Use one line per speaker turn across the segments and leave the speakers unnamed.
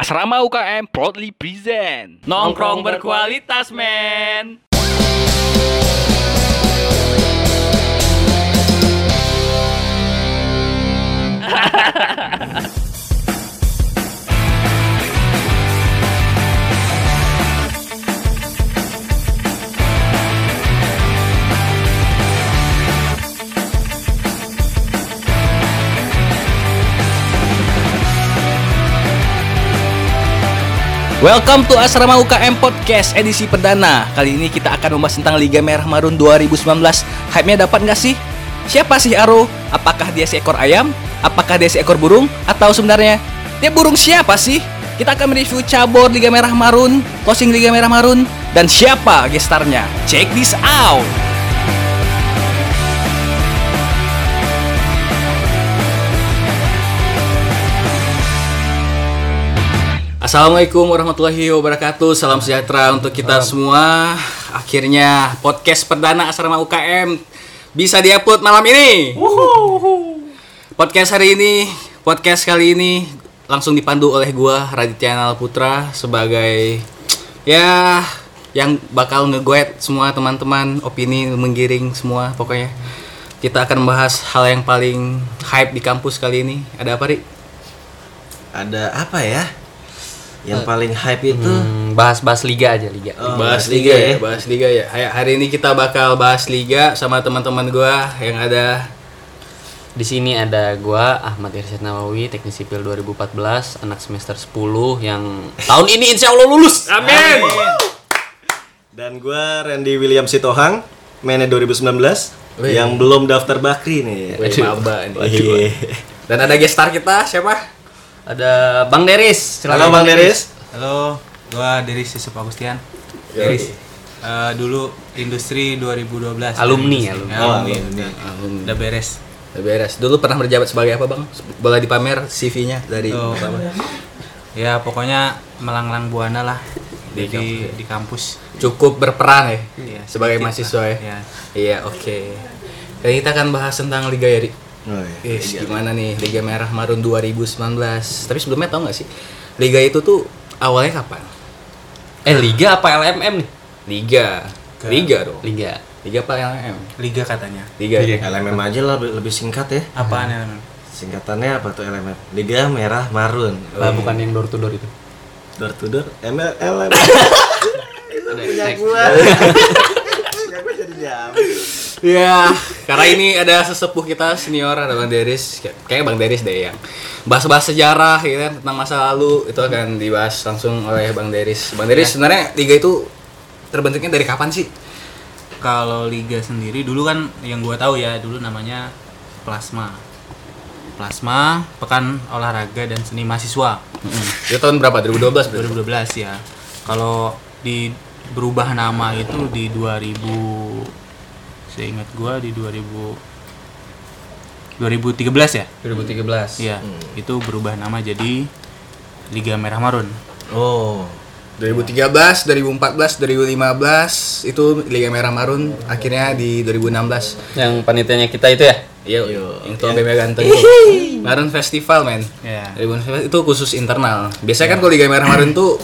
Asrama UKM proudly present
Nongkrong berkualitas, men.
Welcome to Asrama UKM Podcast edisi perdana Kali ini kita akan membahas tentang Liga Merah Marun 2019 Hype-nya dapat nggak sih? Siapa sih Aro? Apakah dia seekor ayam? Apakah dia seekor burung? Atau sebenarnya dia burung siapa sih? Kita akan mereview cabur Liga Merah Marun, closing Liga Merah Marun, dan siapa gestarnya. Check this out! Assalamualaikum warahmatullahi wabarakatuh. Salam sejahtera untuk kita semua. Akhirnya podcast perdana Asrama UKM bisa diupload malam ini. Podcast hari ini, podcast kali ini langsung dipandu oleh gua Raditya Nal Putra sebagai ya yang bakal ngegoet semua teman-teman, opini menggiring semua pokoknya. Kita akan membahas hal yang paling hype di kampus kali ini. Ada apa, Ri?
ada apa ya yang paling hype itu
Hmm.
bahas-bahas Hmm, liga aja, liga.
Oh,
bahas liga ya, bahas liga ya. Hay- Hari ini kita bakal bahas liga sama teman-teman gua yang ada
Di sini ada gua Ahmad Irsyad Nawawi, teknisi sipil 2014, anak semester 10 yang tahun ini insya Allah lulus. Amin.
dan gue Randy William Sitohang mainnya 2019 yang belum daftar bakri nih
Wih, maba nih.
Iya.
Dan ada gestar kita siapa?
Ada Bang Deris.
halo
Silakan,
bang Deris
Halo, gua dari Yusuf Agustian. Deris. Eh, dulu industri 2012.
Alumni,
Ya,
alumni.
alumni.
alumni.
Udah beres.
Udah beres. Dulu pernah berjabat sebagai apa, Bang? Boleh dipamer CV-nya dari
Tuh. Ya, pokoknya melanglang buana lah
Di
di di, kampus.
cukup berperan ya
Iya,
sebagai
sedikit
mahasiswa ya.
lah. Iya.
Iya, oke. Dan kita akan bahas tentang liga ya, Ri.
Oh, iya.
Ih, gimana nih Liga Merah Marun 2019. Tapi sebelumnya tau nggak sih liga itu tuh awalnya kapan?
Eh liga apa LMM nih?
Liga. Liga dong.
Liga. Iya,
Liga apa LM?
Liga katanya.
Liga.
LMM aja lah lebih lebih singkat ya
Apaan elemen?
singkatannya apa tuh LMM Liga Merah Marun
Oh, iya.
Lah bukan yang door to door itu.
door to door ML LMM punya
next.
gue punya gue jadi jam
Ya,
Iya.
karena ini ada sesepuh kita senior ada Bang Deris. Kayak- Kayaknya Bang Deris deh yang bahas-bahas sejarah gitu kan tentang masa lalu itu akan dibahas langsung oleh Bang Deris. Bang
Iya.
Deris sebenarnya liga itu terbentuknya dari kapan sih?
Kalau liga sendiri dulu kan yang gua tahu ya, dulu namanya Plasma. Plasma, Pekan Olahraga dan Seni Mahasiswa.
Itu tahun berapa? 2012 berarti.
2012 ya. Kalau di berubah nama itu di 2000 seingat gua di 2000 2013 ya?
2013.
Iya, itu berubah nama jadi Liga Merah Marun.
oh
2013, 2014, 2015 itu Liga Merah Marun akhirnya di 2016.
Yang panitianya kita itu ya. Iya.
Iya, yang tua BB ganteng. Marun Festival, men.
Ya.
Liga Merah Marun Eh, itu khusus internal. Biasanya kan kalau Liga Merah Marun tuh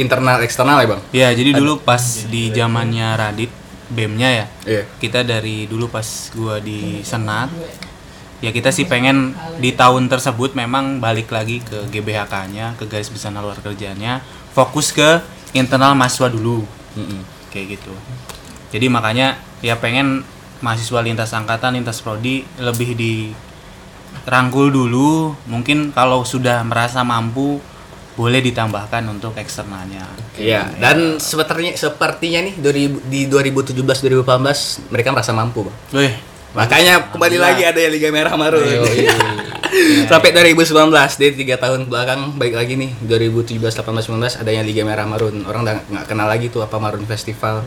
internal eksternal ya, Bang?
Ya, jadi dulu pas di zamannya Radit BEM-nya ya.
Iya.
Kita dari dulu pas gua di Senat ya kita sih pengen di tahun tersebut memang balik lagi ke GBHK-nya, ke garis besar luar kerjanya, fokus ke internal mahasiswa dulu. Kayak gitu. Jadi makanya ya pengen mahasiswa lintas angkatan, lintas prodi lebih dirangkul dulu. Mungkin kalau sudah merasa mampu boleh ditambahkan untuk eksternalnya.
Iya, dan sepertinya sepertinya nih 2000 di 2017 2018 mereka merasa mampu, Bang.
Wih,
Makanya kembali lagi ada ya Liga Merah Marun. Sampai 2019 dari tiga tahun belakang baik lagi nih 2017 18 19 adanya Liga Merah Marun. Orang udah nggak kenal lagi tuh apa Marun Festival.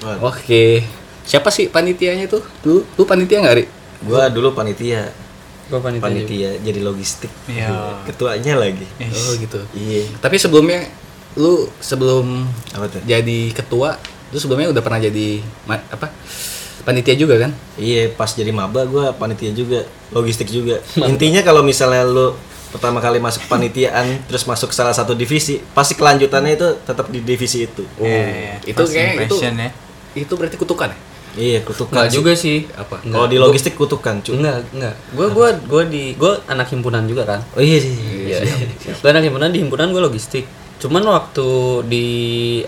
Oh.
Waduh.
Oke. Siapa sih panitianya tuh? Lu lu panitia nggak, Ri?
gue dulu panitia
Gua panitia.
panitia jadi logistik
Iya.
ketuanya lagi
Oh, gitu.
iya
Tapi sebelumnya lu sebelum
apa tuh
jadi ketua, lu sebelumnya udah pernah jadi ma- apa? Panitia juga kan?
Iya, pas jadi maba gue panitia juga, logistik juga. Intinya kalau misalnya lu pertama kali masuk panitiaan terus masuk salah satu divisi pasti kelanjutannya itu tetap di divisi itu
Iya,
Oh, itu
first
kayak itu.
impression ya.
Itu berarti kutukan ya?
iya kutukan
Enggak
sih.
juga sih.
Apa?
Enggak.
kalau di logistik kutukan cuy
Enggak, enggak. Gua gua gua di gua anak himpunan juga kan.
oh iya sih
Iya. Gua anak himpunan di himpunan gua logistik. Cuman waktu di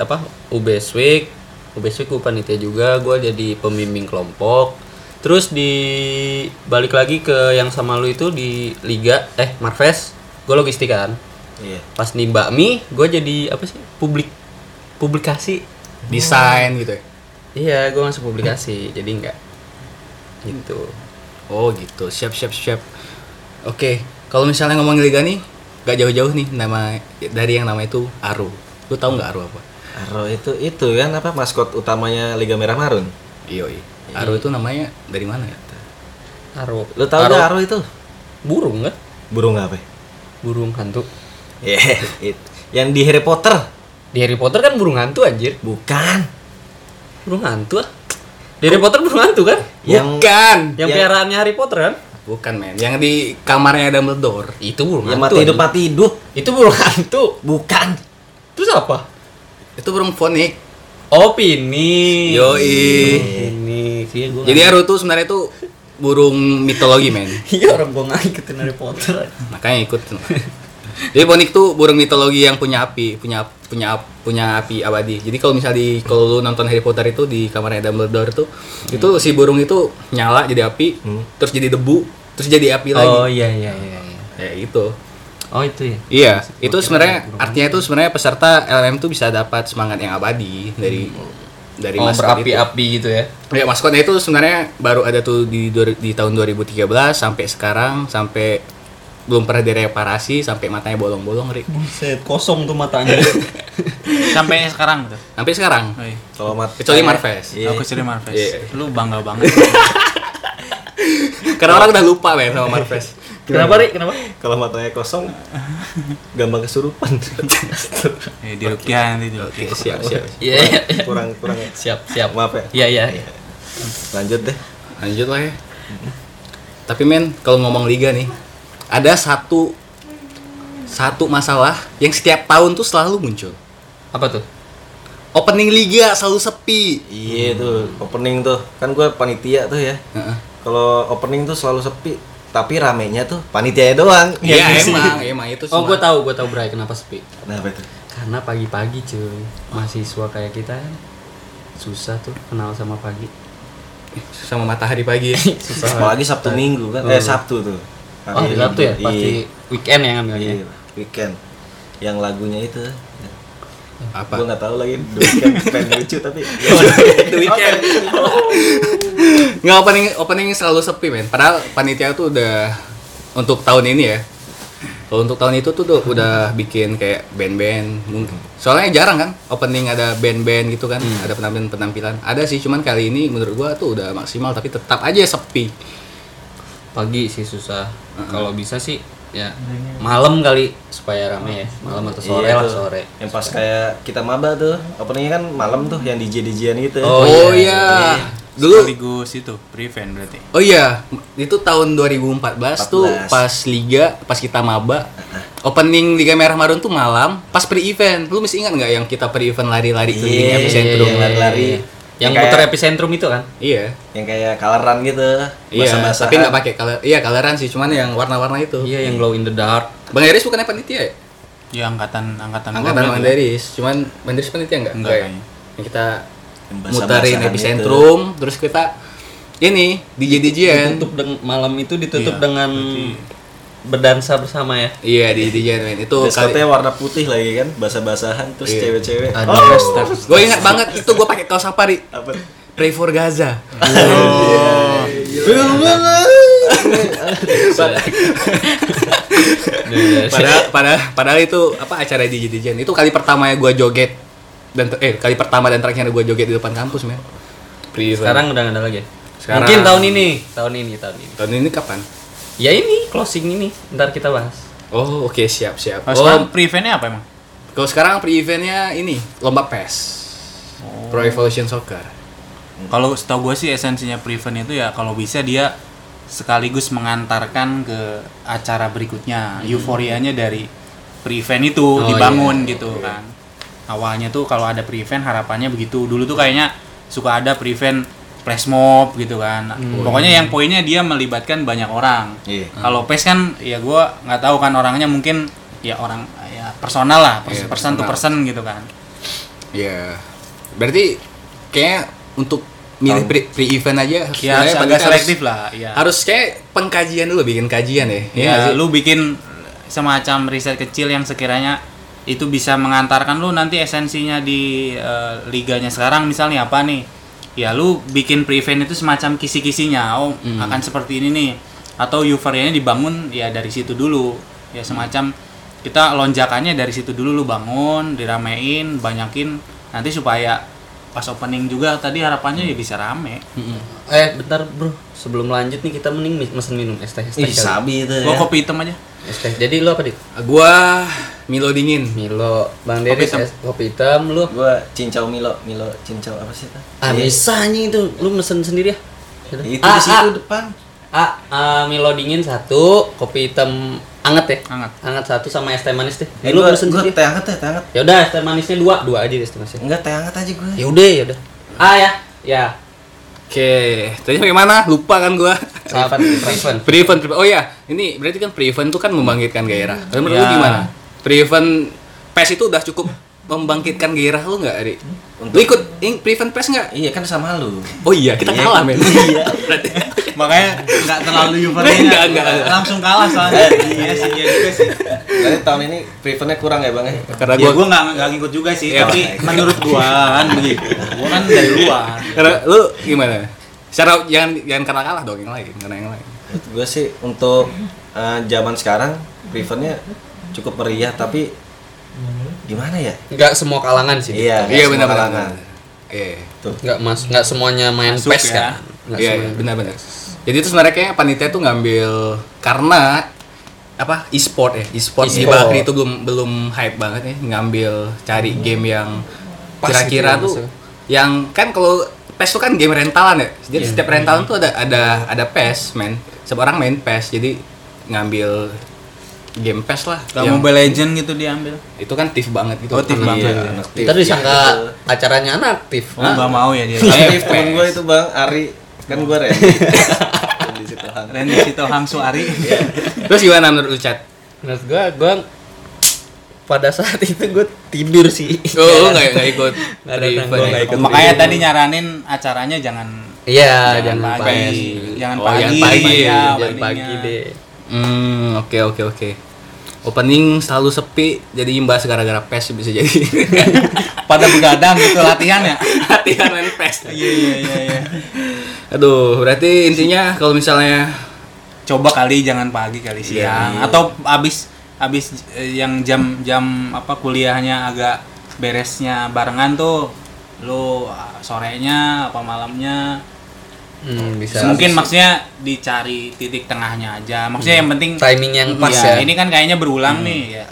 apa UBS Week, UBS Week gua panitia juga, gua jadi pembimbing kelompok. Terus di balik lagi ke yang sama lu itu di Liga eh Marves, gua logistik kan.
iya
Pas di Bakmi, gua jadi apa sih? Publik publikasi.
Desain gitu ya.
Iya, gua masuk publikasi. jadi enggak gitu.
Oh, gitu. Siap, siap, siap. Oke, kalau misalnya ngomongin liga nih, gak jauh-jauh nih nama dari yang nama itu Aru. Lu tahu nggak Aru apa?
Aro itu itu kan apa maskot utamanya Liga Merah Marun
Iya, iya. Aru itu namanya dari mana ya?
Aro.
lu tahu
Aro-
nggak Aro itu
burung kan?
burung apa
Burung hantu.
ya itu. yang di Harry Potter
Di Harry Potter kan burung hantu anjir.
bukan
Burung hantu ah. Di Harry Potter burung hantu kan?
yang
Bukan.
Yang
Yang-
peliharaannya Harry Potter kan?
Bukan, men. Yang di kamarnya Dumbledore.
Itu burung
yang
hantu.
mati hidup
anjir.
mati hidup
Itu burung hantu.
bukan
Terus apa?
Itu burung fonik.
Oh, pini.
Yoi.
Pini. Iya, gua.
Jadi Aru tuh sebenarnya itu burung mitologi, men.
Iya orang gua nggak ngikutin Harry Potter.
Makanya ikut. Jadi fonik tuh burung mitologi yang punya api, punya punya punya api abadi. Jadi kalau misal di kalau lu nonton Harry Potter itu di kamarnya Dumbledore tuh,
Hmm.
itu si burung itu nyala jadi api, terus jadi debu, terus jadi api lagi.
Oh iya iya iya. iya.
Ya itu.
Oh itu ya.
Iya, itu sebenarnya artinya itu sebenarnya peserta LM tuh bisa dapat semangat yang abadi dari dari
Oh
maskot itu.
berapi-api gitu ya.
Ya maskotnya itu sebenarnya baru ada tuh di dua- di tahun 2013 sampai sekarang sampai belum pernah direparasi sampai matanya bolong-bolong Rik.
Buset, kosong tuh matanya.
Sampai sekarang tuh.
Sampai sekarang.
Oh, iya.
kalau mati
Kecuali Marves.
Iya.
Oh,
Aku sering Marves.
Iya.
Lu bangga banget.
Karena orang udah lupa men sama Marves.
Kenapa, Ri? Kenapa?
kalau matanya kosong gampang kesurupan
ya, di Rukiah nanti di
Oke,
Rukiah.
siap, siap.
Iya, iya. iya.
kurang kurang
Siap, siap.
maaf ya
Iya, iya, iya.
lanjut deh
Lanjut lah ya. Tapi men, kalau ngomong liga nih, ada satu satu masalah yang setiap tahun tuh selalu muncul.
Apa tuh?
Opening liga selalu sepi.
iya tuh opening tuh kan gue panitia tuh ya
Heeh.
kalau opening tuh selalu sepi tapi ramenya tuh panitia doang
Iya
Iya sih.
emang, emang itu
Oh,
semua.
gue tahu, gue tahu Bray kenapa sepi.
kenapa tuh
Karena pagi-pagi cuy, mahasiswa kayak kita kan susah tuh kenal sama pagi.
sama matahari pagi.
apalagi sabtu minggu kan eh sabtu tuh
Oh, hari
Hari
Sabtu ya?
Minggu.
Pasti weekend ya ngambilnya.
iya, iya weekend yang lagunya itu
Apa?
gue nggak tahu lagi The Weeknd pengen lucu tapi
Oh,
The Weeknd. Nggak opening opening selalu sepi men. Padahal panitia tuh udah untuk tahun ini ya. Kalau untuk tahun itu tuh udah, udah bikin kayak band-band mungkin. Soalnya jarang kan opening ada band-band gitu kan,
Hmm.
ada penampilan-penampilan. Ada sih cuman kali ini menurut gua tuh udah maksimal tapi tetap aja sepi.
Pagi sih susah. Kalau bisa sih ya malam kali supaya rame ya. Malam atau sore
Iya
lah
tuh.
sore.
yang pas kayak kita maba tuh openingnya kan malam tuh yang DJ DJan gitu
Oh,
Oh, iya,
iya. Dulu
Sekaligus itu prevent berarti.
Oh iya, itu tahun 2014 tuh
14.
pas liga, pas kita maba,
Uh-huh.
opening Liga Merah Marun tuh malam, pas pre-event. Lu masih ingat nggak yang kita pre-event lari-lari keliling
Iya,
epicentrum?
iya, iya. lari-lari.
Yang
Kayak-
puter epicentrum itu kan?
Iya.
yang kayak kalaran gitu
Iya,
basah-basahan.
tapi nggak pakai color. Iya, coloran sih, cuman yang warna-warna itu.
Iya, yang glow in the dark.
Bang Eris bukannya panitia ya?
Ya angkatan angkatan gua
Angkatan Bang
berarti.
Eris, cuman Bang Eris panitia nggak?
Enggak,
Nggak ya?
kayaknya.
Yang kita
Yang basah-basahan
muterin
itu.
epicentrum, terus kita ini DJ DJan.
Tutup deng- malam itu ditutup
Iya,
dengan berdansa bersama ya.
Iya, DJ DJan men. Itu
Terus
kali-
katanya warna putih lagi kan, basah-basahan terus
Iya.
cewek-cewek.
Ada
Oh,
pesta.
Gue ingat banget itu gue pakai kaos apa, Ri?
apa?
Pray for Gaza.
Iya,
Iya,
padahal, padahal, padahal itu apa acara di Jadijan itu kali pertama ya gue joget dan ter- eh kali pertama dan terakhir gue joget di depan kampus men. Please,
Sekarang udah nggak ada lagi. ya?
Sekarang.
Mungkin tahun ini, tahun ini, tahun ini.
tahun ini kapan?
Ya ini closing ini, ntar kita bahas.
Oh oke siap siap.
Oh,
Oh,
sekarang preventnya apa emang?
kalau sekarang pre-eventnya ini lomba PES.
Oh.
Pro Evolution Soccer.
Kalau setahu gue sih esensinya prevent itu ya kalau bisa dia sekaligus mengantarkan ke acara berikutnya. Euforianya dari pre-event itu
Oh,
dibangun
iya.
gitu kan. Awalnya tuh kalau ada pre-event harapannya begitu. Dulu tuh kayaknya suka ada pre-event flash mob gitu kan. Pokoknya yang poinnya dia melibatkan banyak orang.
Iya.
Kalau PES kan ya gua nggak tahu kan orangnya mungkin ya orang ya personal lah,
Iya,
person to
personal.
person gitu kan.
Ya. Berarti kayaknya untuk milih pre- pre-event aja
Ya
sebenarnya
agak
harus-
selektif lah, ya.
Harus kayak pengkajian dulu bikin kajian ya. Iya nggak
Ya,
sih?
lu bikin semacam riset kecil yang sekiranya itu bisa mengantarkan lu nanti esensinya di eh, liganya sekarang misalnya apa nih? Ya lu bikin pre-event itu semacam kisi-kisinya, oh
Hmm.
akan seperti ini nih. Atau euforianya dibangun ya dari situ dulu. Ya
Hmm.
semacam kita lonjakannya dari situ dulu lu bangun, diramein, banyakin nanti supaya pas opening juga tadi harapannya
Hmm.
ya bisa rame.
Eh, bentar bro. Sebelum lanjut nih kita mending mi- mesen minum es teh. Es teh,
Ih,
kali.
sabi
Iya.
itu
Gua
ya.
kopi hitam aja.
Es teh. Jadi lu apa, Dit?
Gua Milo dingin.
Milo, Bang Deris
hitam.
es kopi hitam lu.
Gua cincau Milo, Milo cincau apa sih itu?
Ah, bisa anjing itu. Lu mesen sendiri ya? Gitu.
Iya. Itu
Ah,
di situ
ah.
depan.
Ah, ah, Milo dingin satu, kopi hitam anget ya?
Anget.
Anget satu sama es teh manis deh.
Eh,
lu
gua,
mesen
gua
sendiri.
teh hangat ya, teh hangat.
Ya udah, es teh manisnya dua, dua aja deh es teh manisnya.
Enggak, teh hangat aja gua.
Ya udah, ya udah. Ah ya, ya.
Oke, tadi bagaimana? Lupa kan gua.
Sarapan Steven.
Pre-event, pre- oh ya, ini berarti kan pre-event itu kan membangkitkan gairah. Tapi menurut lu
Ya.
gimana? Pre-event PES itu udah cukup membangkitkan gairah lu nggak, Ari? Lu ikut ing- pre-event PES nggak?
Iya kan sama lu.
Oh iya, kita kalah men. Iya. Berarti
Makanya nggak terlalu
Nggak,
euforia.
nggak, nggak.
Iya, Langsung kalah soalnya. Iya sih, iya juga sih.
Berarti tahun ini prefernya kurang ya, Bang ya?
karena
ya
Iya, gua,
gue nggak nggak ngikut juga sih
Iya,
tapi
baik.
menurut gua kan begitu gua kan dari luar
karena lu gimana? Secara jangan jangan karena kalah dong yang lain, karena yang lain.
Gue sih untuk eh, zaman sekarang prefernya cukup meriah tapi gimana ya?
Enggak semua kalangan sih. Dit.
Iya, nggak
Iya
semua
benar benar.
kalangan.
Iya.
Nggak mas, nggak semuanya main
Masuk
pes
ya.
kan? Nggak
Iya, iya,
semuanya.
benar benar. Jadi itu sebenarnya kayak panitia tuh ngambil karena apa e-sport ya e-sport di
E-sport. Hmm.
Bakri itu belum belum hype banget ya ngambil cari game yang
Pas
kira-kira
gitu ya,
tuh
maksudnya.
yang kan kalau PES tuh kan game rentalan ya jadi
Iya.
setiap rentalan
Hmm.
tuh ada ada ada PES men setiap orang main PES jadi ngambil game PES lah
Gak
yang-
Mobile Legend gitu diambil
itu kan tif banget gitu
Oh, tif
Anak-
banget.
iya, anak tif.
Ntar disangka
Iya, betul.
acaranya anaktif.
oh nggak mau ya dia
Tapi
Iya,
temen
PS.
gue itu Bang Ari kan gue Randy. Randy Sitohang.
Randy Sito Hangsu Ari
terus gimana menurut lu chat
Menurut gua, gua pada saat itu gua tidur sih.
oh lu
ya?
nggak nggak ikut
Nggak datang,
event
gua
ya?
nggak ikut.
makanya tadi nyaranin acaranya jangan
Iya, jangan,
pagi.
pagi.
jangan
Oh,
pagi,
jangan pagi.
Iya,
Jangan
paginya.
pagi deh.
Hmm, oke oke oke. Opening selalu sepi, jadi imbas gara-gara pes bisa jadi.
pada begadang gitu latihan ya
Latihan main pes.
iya iya iya iya.
Aduh, berarti intinya kalau misalnya
coba kali jangan pagi kali
Iya,
siang atau abis abis eh, yang jam jam apa kuliahnya agak beresnya barengan tuh lo sorenya apa malamnya
Hmm, bisa. Iya.
mungkin maksudnya dicari titik tengahnya aja maksudnya yang penting
timing yang pas
Iya,
ya. Hmm.
ini kan kayaknya berulang nih ya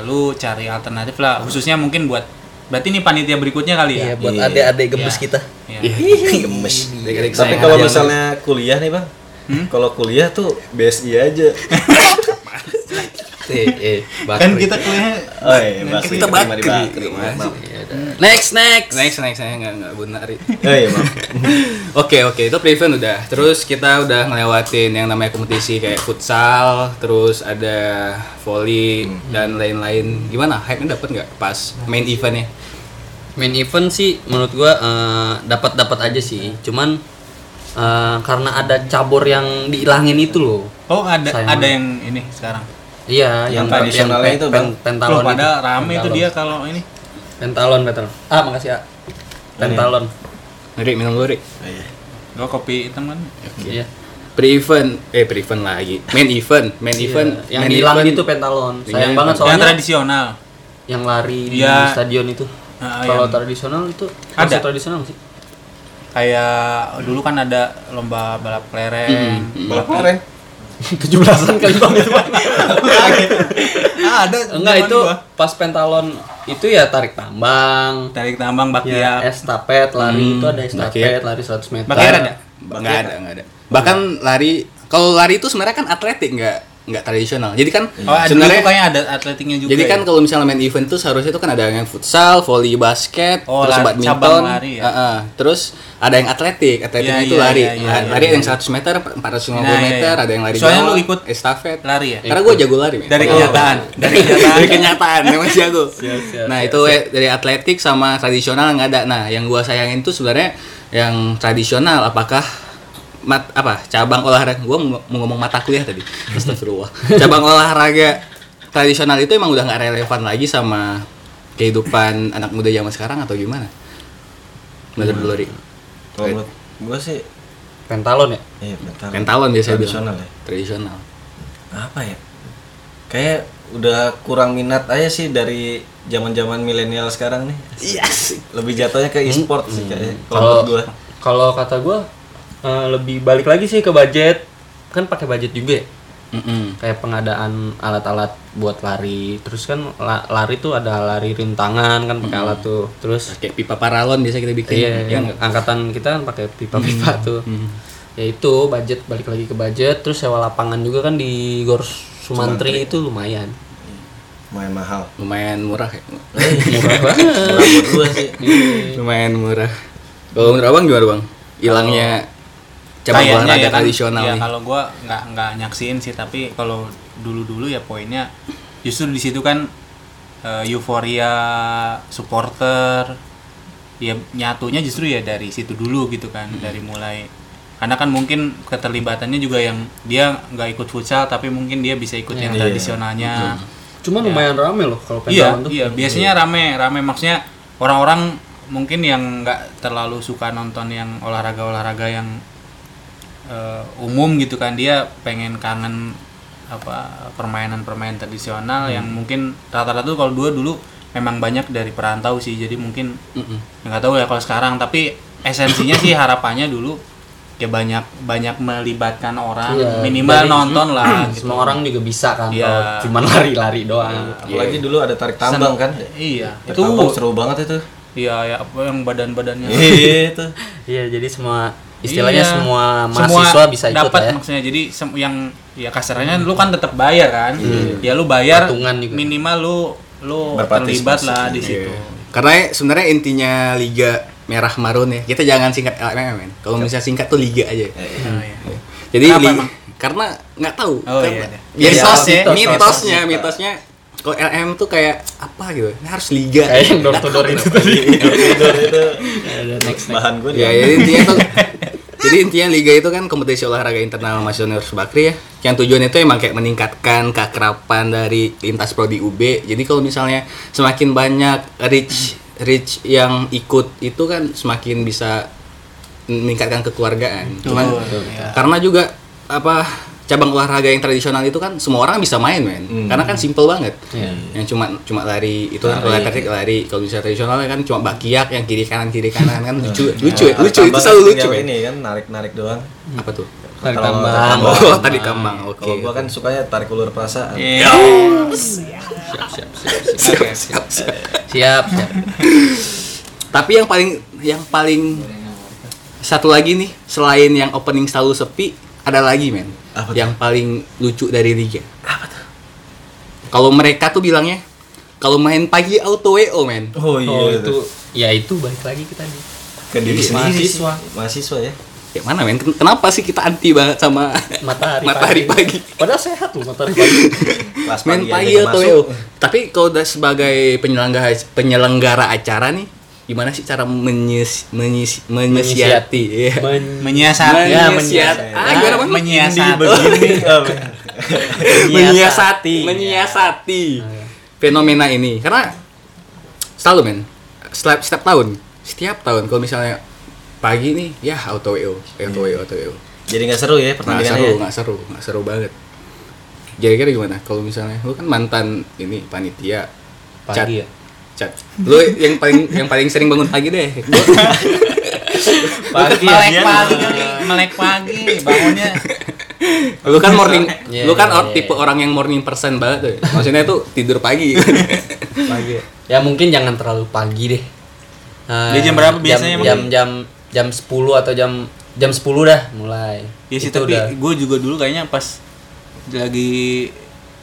lalu cari alternatif lah khususnya mungkin buat berarti ini panitia berikutnya kali
Iya,
ya
buat
Iya.
adik-adik gemes
Iya.
kita.
Iya.
Gemes.
Dek-dek
Tapi
saya.
kalau misalnya kuliah nih, Bang.
Hmm?
Kalau kuliah tuh BSI aja.
Eh, eh,
Iya. kan
bakri.
kita kuliah
Oh iya, Bakri.
Nah, kita
Terima di
bakri.
Maaf, maaf.
Iya, dah. Next, next.
next next saya nggak nggak benar. Ri.
Oh iya, maaf.
Oke oke itu prevent udah. Terus kita udah ngelewatin yang namanya kompetisi kayak futsal, terus ada volley
Hmm.
dan lain-lain. Gimana? Hype-nya dapet nggak pas main eventnya?
Main event sih menurut gua eh, dapat-dapat aja sih. Cuman eh, karena ada cabur yang dihilangin itu loh.
oh ada
Sayang
ada
banget.
yang ini sekarang
Iya, pe-
Yang tradisionalnya
pe-
itu,
pen-
Bang.
pentalon
Loh, pada
itu.
rame tuh
Pentalon.
dia kalau ini
Pentalon, pentalon. Ah, makasih, ah. Pentalon.
Rik minum dulu Rik.
Oh iya.
gua kopi hitam kan
Iya.
pre-event eh pre-event lagi main event main event
Iya, yang
main
hilang
event.
gitu,
itu pentalon.
Yang
Sayang banget
pentalon.
yang
soalnya
tradisional
yang lari di
Iya.
stadion itu.
Ah,
Kalau
yang-
tradisional itu
Ada.
masih tradisional nggak sih?
kayak dulu kan ada lomba balap kelereng
Mm-hmm.
Balap keren.
tujuh belasan kali bang itu
Ah, ada
enggak
zaman
itu
gua.
pas pentalon itu ya tarik tambang
tarik tambang bakya
Ya, Hmm.
ya estafet lari itu ada
bakyak.
estafet lari 100 meter
Bakyak ada?
nggak ada nggak ada Bahkan lari kalau lari itu sebenarnya kan atletik nggak nggak tradisional. Jadi kan
Oh, ada
sebenarnya
dulu kayaknya ada atletiknya juga.
jadi kan
ya?
kalau misalnya main event tuh seharusnya itu kan ada yang futsal, volley, basket,
Oh,
terus
lari- cabang
badminton,
lari ya?
Heeh. terus ada yang atletik, atletiknya
Iya,
itu
iya,
lari,
iya, iya,
lari ada yang 100 meter, 450
Nah, iya,
meter,
iya.
ada yang lari
Soalnya
jauh,
lu ikut
estafet,
lari ya?
Karena gue jago lari. men.
dari
Kalau-
kenyataan, dari kenyataan.
dari kenyataan memang jago.
siap,
nah itu eh, dari atletik sama tradisional nggak ada. Nah yang gua sayangin tuh sebenarnya yang tradisional apakah mat apa cabang olahraga gua mau mau ngomong mata kuliah tadi astagfirullah cabang olahraga tradisional itu emang udah nggak relevan lagi sama kehidupan anak muda zaman sekarang atau gimana menurut lu Ri?
Hmm.
Kalau menurut gue sih
Pentalon ya?
iya mental.
pentalon biasa
tradisional ya.
tradisional
Apa ya? Kayak udah kurang minat aja sih dari zaman-zaman milenial sekarang nih.
Iya
yes
Lebih jatuhnya ke e-sport sih kayaknya. Kalau
Kalau
menurut gue.
kalau kata gua eh, lebih balik lagi sih ke budget. Kan pakai budget juga ya.
Mm-mm.
Kayak pengadaan alat-alat buat lari. Terus kan la- lari tuh ada lari rintangan kan pakai alat tuh. Terus
kayak pipa paralon biasa kita bikin
Iya,
ya
yang
nggak?
angkatan kita kan pakai pipa-pipa tuh. Ya itu budget balik lagi ke budget, terus sewa lapangan juga kan di Gor Sumantri itu lumayan.
Main mahal.
lumayan murah ya
Murah banget.
Murah buat gue sih.
lumayan murah. Kalau menurut abang gimana bang? Hilangnya cabang
Kayaknya
olahraga
ya kan.
tradisional
Iya,
nih.
kalau gua nggak nggak nyaksiin sih tapi kalau dulu-dulu ya poinnya justru di situ kan eh, euforia supporter ya nyatunya justru ya dari situ dulu gitu kan
Hmm.
dari mulai karena kan mungkin keterlibatannya juga yang dia nggak ikut futsal tapi mungkin dia bisa ikut yang
Iya.
tradisionalnya
Cuma lumayan rame loh kalau
Iya,
pendalan tuh.
iya. Biasanya rame, rame maksudnya orang-orang mungkin yang nggak terlalu suka nonton yang olahraga-olahraga yang eh, umum gitu kan dia pengen kangen apa permainan-permainan tradisional yang
Hmm.
mungkin rata-rata tuh kalau dua dulu memang banyak dari perantau sih jadi mungkin ya nggak tahu ya kalau sekarang tapi esensinya sih harapannya dulu ya banyak banyak melibatkan orang
Iya,
minimal
dari-
nonton lah gitu.
Semua orang juga bisa kan
Iya.
kalau cuman lari-lari doang.
Apalagi dulu ada tarik tambang kan.
iya
Tarik
itu
tambang seru banget itu.
Iya, ya apa yang badan-badannya.
Iya itu.
Iya, jadi semua istilahnya
Iya.
semua
Semua
mahasiswa bisa ikut
dapat
ya.
maksudnya. Jadi sem- yang ya kasarnya lu kan tetap bayar kan. Ya lu bayar
Iya. Patungan juga.
minimal lu lu terlibat
Berpartisipasi.
lah di situ.
Iya. Karena sebenarnya intinya liga merah marun ya. Kita jangan singkat LMM men. Kalau misalnya singkat tuh liga aja.
Nah, iya.
Jadi
Kenapa
li-
emang?
karena nggak tahu.
Oh,
Karena-
iya, iya.
Biar
Iya,
sos ya,
mitos,
mitosnya, mitosnya kalau LM tuh kayak apa gitu. Ini harus liga.
Kayak yang door to door itu tadi.
Iya,
Tidur itu. Bahan gue
Ya, jadi intinya tuh jadi intinya liga itu kan kompetisi olahraga internal nasional Bakri ya. Yang tujuannya itu emang kayak meningkatkan keakraban dari lintas prodi UB. Jadi kalau misalnya semakin banyak rich rich yang ikut itu kan semakin bisa meningkatkan kekeluargaan. Cuman karena juga apa cabang olahraga yang tradisional itu kan semua orang bisa main men. Karena kan simple banget. Yang cuma cuma lari itu kan kalau atletik lari. Kalau misalnya tradisional kan cuma bakiak yang kiri kanan kiri kanan kan lucu lucu
Tarik
lucu itu
tambang
selalu
kan
lucu ya.
tinggal
men.
ini kan narik-narik doang.
Apa tuh?
Tarik
Kalau-
tambang.
kalau-
Oh, tadi kambang. Oke.
Kalau gua kan sukanya tarik ulur perasaan.
Iya.
Siap, siap, siap.
Siap, siap.
Siap, siap.
Tapi yang paling yang paling satu lagi nih selain yang opening selalu sepi ada lagi men
Apa tuh?
yang paling lucu dari liga. Apa tuh? Kalau mereka tuh bilangnya kalau main pagi auto WO men.
Oh iya
Oh,
itu.
itu ya itu balik lagi kita nih.
Ke diri
Iya,
sendiri sih.
mahasiswa.
Mahasiswa ya.
Ya mana men? Ken- Kenapa sih kita anti banget sama
matahari,
matahari pagi?
Padahal sehat loh matahari pagi.
Kelas
Main
pagi
pagi
aja
atau
masuk.
Tapi kalau udah sebagai penyelenggara penyelenggara acara nih, gimana sih cara menyis, menyis, menyiasati? Iya.
Men-
Menyiasati.
Ya,
Menyiasati.
menyiasati.
Ah, gimana, Bang?
Menyiasati.
Begini. eh,
menyiasati menyiasati
Iya.
fenomena ini karena selalu men setiap, setiap tahun setiap tahun kalau misalnya pagi nih ya auto wo auto wo auto wo
Jadi nggak seru ya
nggak
pertandingannya.
seru
ya?
nggak seru nggak seru banget kira-kira gimana kalau misalnya lu kan mantan ini panitia Cat.
Pagi ya?
Cat. lu yang paling yang paling sering bangun pagi deh Gua-
Melek
Iya,
pagi, Iya, melek pagi, bangunnya.
lu kan morning
Iya,
lu kan
iya,
or-
iya,
tipe
iya.
orang yang morning person banget tuh maksudnya tuh tidur pagi
Pagi. Ya mungkin jangan terlalu pagi deh. Eh,
Dia jam berapa biasanya,
Jam jam jam 10 atau jam jam 10 dah mulai.
Ya sih
Itu
tapi
udah.
gue juga dulu kayaknya pas lagi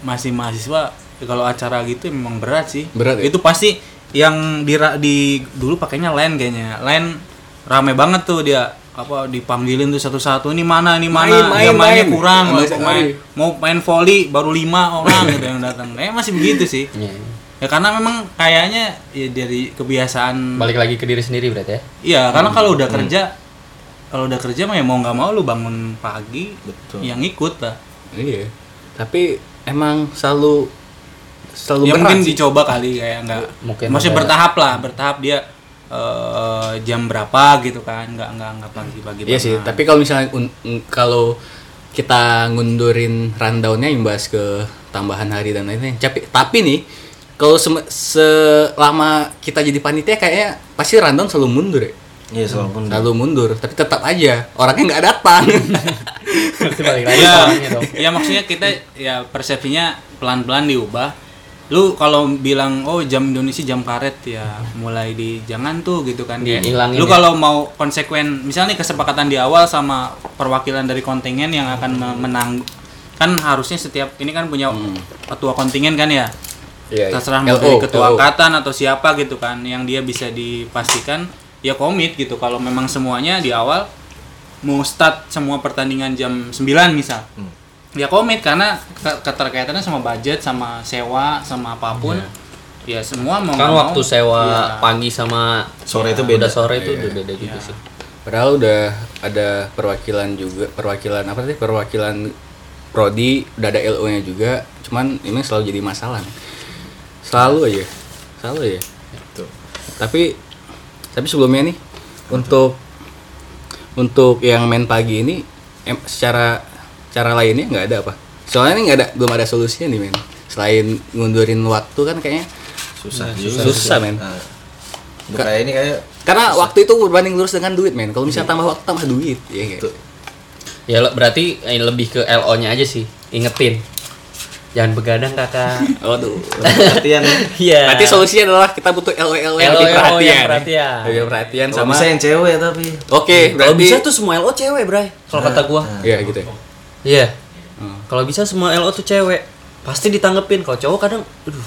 masih mahasiswa ya kalau acara gitu memang berat sih.
Berat ya?
Itu pasti yang di di dulu pakainya line kayaknya. Line rame banget tuh dia apa dipanggilin tuh satu-satu ini mana ini mana
Main, main,
Jamannya
main.
kurang
Sama
mau
sekali.
main mau main volley baru lima orang gitu yang datang ya masih begitu sih
Iya.
ya karena memang kayaknya ya dari kebiasaan
Balik lagi ke diri sendiri berarti ya.
Iya, karena
Hmm.
kalau udah kerja, kalau udah kerja mah ya mau nggak mau lu bangun pagi,
Betul.
yang ikut lah.
Iya. Tapi emang selalu selalu
ya
berat
mungkin
sih.
dicoba kali kayak nggak,
Mungkin
masih
ada-
bertahap lah, bertahap dia eh, jam berapa gitu kan, nggak nggak nggak pagi-pagi.
Iya sih,
banget.
tapi kalau misalnya un- un- kalau kita ngundurin rundownnya imbas ke tambahan hari dan lain-lain. Tapi, tapi nih kalau sem- selama kita jadi panitia kayaknya pasti rundown selalu mundur ya.
Iya, selalu pun.
Selalu mundur, tapi tetap aja orangnya nggak datang.
Pasti balik lagi
Iya,
orangnya dong.
ya maksudnya kita ya persepsinya pelan-pelan diubah. Lu kalau bilang oh jam Indonesia jam karet ya mulai di jangan tuh gitu kan dia.
Dihilangin
Lu
ya.
kalau mau konsekuen misalnya nih kesepakatan di awal sama perwakilan dari kontingen yang akan me- menang kan harusnya setiap ini kan punya
Hmm.
ketua kontingen kan ya.
Iya, iya.
Terserah
LO,
mau dari ketua
LO.
angkatan atau siapa gitu kan yang dia bisa dipastikan ya komit gitu kalau memang semuanya di awal mau start semua pertandingan jam 9 misal ya komit karena ke- keterkaitannya sama budget sama sewa sama apapun ya semua mau
Kan
nggak
waktu
mau,
sewa
iya.
pagi sama
Sore itu
udah
beda.
sore itu udah beda juga sih.
Padahal udah ada perwakilan juga, perwakilan apa tadi? Perwakilan prodi, udah ada LO-nya juga. Cuman ini selalu jadi masalah. nih. Selalu aja. Selalu ya. Tapi tapi sebelumnya nih untuk untuk yang main pagi ini em, secara cara lainnya nggak ada apa? Soalnya ini nggak ada belum ada solusinya nih men. Selain ngundurin waktu kan kayaknya
Susah,
susah,
juga.
susah, men.
Nah, untuk kayak ini kayak
karena waktu itu berbanding lurus dengan duit men. Kalau misalnya tambah waktu tambah duit ya.
Betul.
Ya le- berarti eh, lebih ke LO-nya aja sih. Ingetin. Jangan begadang kakak.
Waduh.
perhatian ya.
Iya.
Berarti solusinya adalah kita butuh LOL yang
LOL
lebih
yang
perhatian. ya.
perhatian.
Lebih perhatian
Kalau
sama
bisa yang cewek ya, tapi
Oke,
Kalau
berarti
bisa tuh semua LO cewek, Bray. Kalau kata gua.
Iya gitu ya.
Iya.
Hmm.
Kalau bisa semua LO tuh cewek. Pasti ditanggepin. Kalau cowok kadang aduh,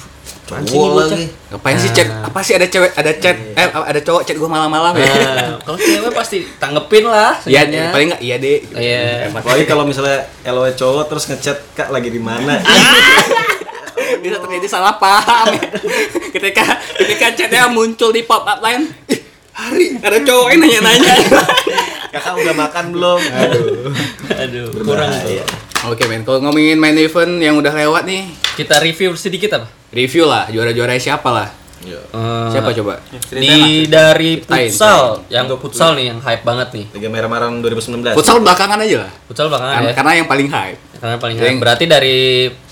apaan sih ini
Cowok
bocah?
lagi.
Ngapain
Nah.
sih chat? Apa sih ada cewek, ada chat, eh ada cowok chat gua malam-malam ya?
Iya, Nah, kalau cewek pasti tanggepin lah.
Iya,
sebenarnya.
paling enggak iya deh.
Iya.
Emang
Apalagi kalau misalnya LW cowok terus ngechat kak lagi di mana?
bisa terjadi salah paham. ya. ketika ketika chatnya muncul di pop up line, "Ih, hari ada cowok yang nanya-nanya.
Kakak udah makan belum? Aduh. Nah, iya.
Aduh, kurang
Iya.
Berbahaya.
Oke men, kalau ngomongin main event yang udah lewat nih,
Kita review sedikit apa?
review lah juara-juara siapa lah?
Iya.
Ah.
Siapa coba?
Di dari
Ceritain,
futsal, yang futsal nih yang hype banget nih.
Liga Merah Marang 2019.
Futsal belakangan aja lah.
Futsal
Karena-
bakalan ya.
Karena yang paling hype.
Karena paling
Yang-
hype. Berarti dari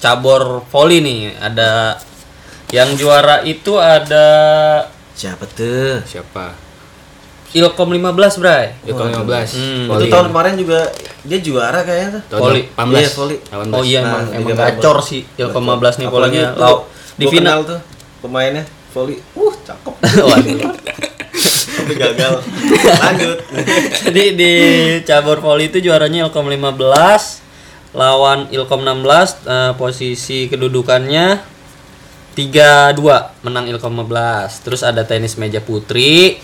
cabur volley nih ada yang juara itu ada
Siapa tuh?
Siapa?
Ilkom 15, Bray.
Yukon 15.
Hmm.
Volley.
Itu tahun kemarin juga dia juara kayaknya tuh.
Tahun
Volley.
18.
Iya, volley.
18.
Oh iya emang
Nah,
emang
Liga Merah
gacor
Marang.
sih Ilkom 15 nih
Apalagi
polanya.
tuh,
Lau- di
gua
final.
kenal tuh pemainnya volley. Uh, cakep.
Waduh.
Tapi gagal. Lanjut.
Jadi di cabur volley itu juaranya Ilkom 15 lawan Ilkom 16 eh, posisi kedudukannya 3-2 menang Ilkom 15. Terus ada tenis meja putri.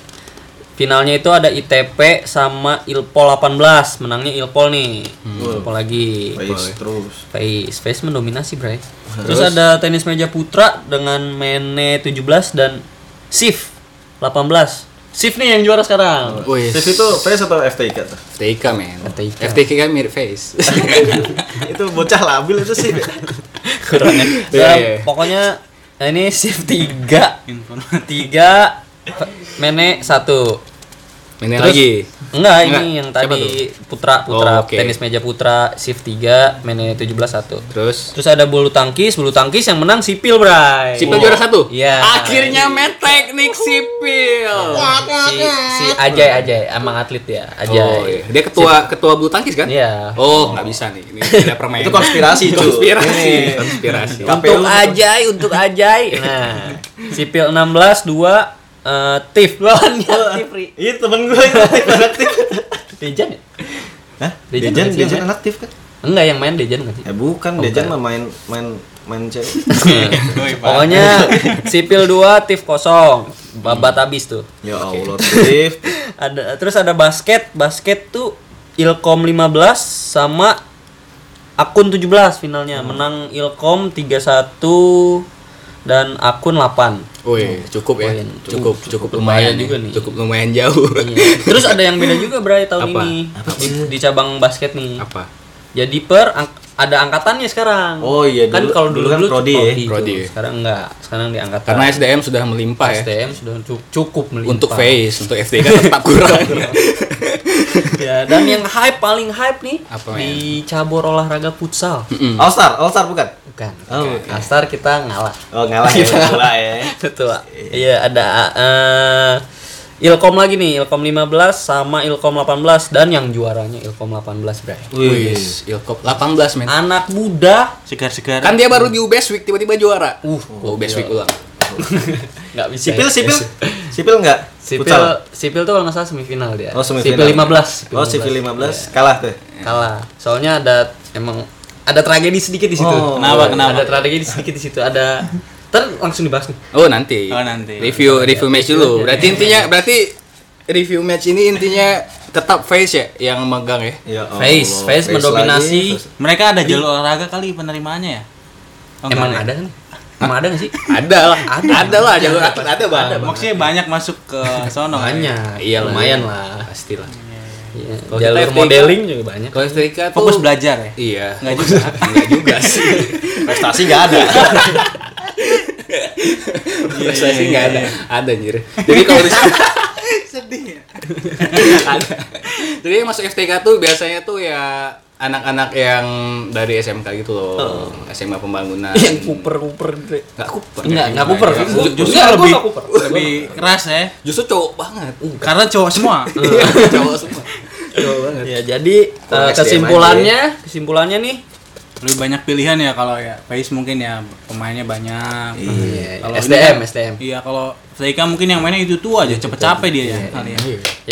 Finalnya itu ada ITP sama Ilpol 18. Menangnya Ilpol nih. Ilpol lagi.
Face terus.
Face Face mendominasi, Bray. Terus, ada tenis meja putra dengan Mene 17 dan Sif 18. Sif nih yang juara sekarang.
Wih,
Sif itu face atau FTIK tuh?
FTK men.
FTK.
FTK kan mirip face.
itu bocah labil itu sih.
Kurang ya.
Iya,
Ya,
iya.
Pokoknya nah ini Sif 3. 3
Inform-
Mene 1.
Ini
Terus-
lagi.
Enggak,
Enggak.
ini yang
Siapa
tadi putra putra
Oh, oke.
tenis meja putra Sif 3 Mene 17 1.
Terus
Terus ada bulu tangkis, bulu tangkis yang menang Sipil, Bray.
Sipil juara satu?
Iya.
Akhirnya met teknik sipil.
si si Ajay Ajay emang atlet ya Ajay
Oh, iya. Dia ketua ketua bulu tangkis kan?
Iya.
Oh, nggak bisa nih. Ini ada permainan.
itu konspirasi, cuy.
konspirasi.
Ini.
konspirasi.
untuk
KPU.
Ajay untuk Ajay gitu. nah sipil 16 dua eh Tif lawannya Tifri
Iya temen gue itu aktif.
Dejan ya?
Hah?
Dejan
Dejan,
masih
Dejan
main?
inaktif kan?
Enggak yang main Dejan kan sih?
Eh bukan,
Oh,
Dejan
bukan.
mah main main main cewek.
Pokoknya sipil 2 tif kosong. Babat habis tuh.
ya Allah, Tiff.
Ada terus ada basket, basket tuh Ilkom 15 sama Akun 17 finalnya menang Ilkom 31 dan Akun 8.
Wih, cukup ya.
Lumayan.
Cukup cukup lumayan
lumayan juga
juga
nih. Iya.
Cukup lumayan jauh.
Terus ada yang beda juga Bray tahun
Apa?
ini di, di cabang basket nih.
Apa?
Jadi per ang- ada angkatannya sekarang.
Oh iya,
kan
dulu-
kalau dulu
dulu kan prodi ya.
tuh.
Prodi ya.
Sekarang enggak, sekarang di angkatan.
Karena SDM sudah melimpah ya.
STM sudah cu- cukup melimpah.
Untuk face, untuk FTK tetap kurang.
Ya, dan yang hype paling hype nih
Apa, ya?
di cabur olahraga futsal.
Mm-mm.
All Star, All Star bukan?
Bukan.
Oh,
Bukan. Astar kita ngalah.
Oh ngalah ya, pula ya.
Betul. Iya, ada eh, Ilkom lagi nih, Ilkom 15 sama Ilkom 18 dan yang juaranya Ilkom 18, Bray.
Wih, Ilkop 18 men.
Anak muda
Segar-segar.
Kan dia baru di UBS Week tiba-tiba juara.
Uh,
oh, Iya UBS Week ulang.
nggak bisa.
Sipil,
ya.
sipil, sipil nggak?
Sipil,
Futsal?
sipil tuh kalau nggak salah semifinal dia.
Oh semifinal.
Sipil 15.
Oh sipil 15 kalah tuh.
Iya, Kalah. Soalnya ada emang ada tragedi sedikit di situ.
Oh.
Kenapa, kenapa?
Ada tragedi sedikit di situ. Ada ter langsung dibahas nih.
Oh, nanti. Iya.
Oh, nanti.
Review review match dulu. Berarti intinya berarti review match ini intinya tetap face ya yang megang ya.
Ya Allah,
Face, face mendominasi.
lagi, face-
Mereka ada jalur olahraga kali penerimaannya ya? Oh,
emang
enggak
ada kan? Emang ada nggak sih?
Ada lah, ada, lah jalur atlet ada bang.
Ada, Maksudnya banyak masuk ke
Oh,
sono.
Banyak.
Iya lah.
lumayan lah.
Pastilah.
Iya.
Kalau kita
Jalur
FTK
modeling juga banyak.
Kalau Amerika tuh
Fokus belajar ya?
Iya.
Enggak juga.
Enggak juga sih.
Prestasi nggak ada.
Prestasi nggak ada. Ada anjir. Jadi kalau di Ada. Jadi yang masuk FTK tuh biasanya tuh ya anak-anak yang dari SMK gitu loh. SMA pembangunan.
Yang kuper-kuper. gitu.
Enggak kuper.
Enggak, enggak kuper.
Ju-
Justru
Enggak, gua
lebih
nggak kuper.
lebih keras ya.
Justru cowok banget.
Karena cowok semua.
Iya, cowok semua. Cowok banget.
Ya, jadi
Kurang
eh,
SDM
kesimpulannya, kesimpulannya nih
lebih banyak pilihan ya kalau ya Pais mungkin ya pemainnya banyak.
Iya,
Kalau
SDM,
ini kan-
SDM.
Iya, kalau Seika mungkin yang mainnya itu tuh aja cepet capek dia ya
Iya,
kali ya.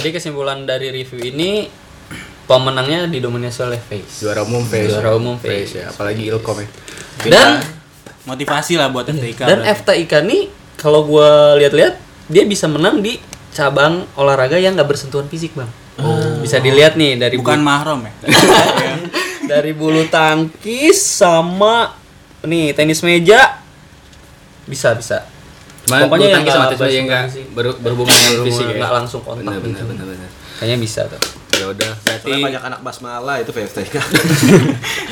Jadi kesimpulan dari review ini pemenangnya didominasi oleh Face.
Juara umum face.
Juara umum face.
ya, apalagi Ilkom ya.
Dan
Motivasi lah buat
Iya.
Seika.
dan FTIK nih kalau gua lihat-lihat dia bisa menang di cabang olahraga yang nggak bersentuhan fisik, Bang.
Oh.
Bisa dilihat nih dari bu-
bukan mahram ya.
dari bulu tangkis sama nih tenis meja bisa bisa.
Cuman Pokoknya
yang
tangkis sama
nggak
tenis meja yang ya, nggak
bersentuhan fisik.
ber- berhubungan dengan fisik ya.
nggak langsung kontak
Benar benar
gitu.
benar benar.
Kayaknya bisa tuh.
Ya udah, berarti
Iya.
Soalnya banyak anak basmala itu VFTK.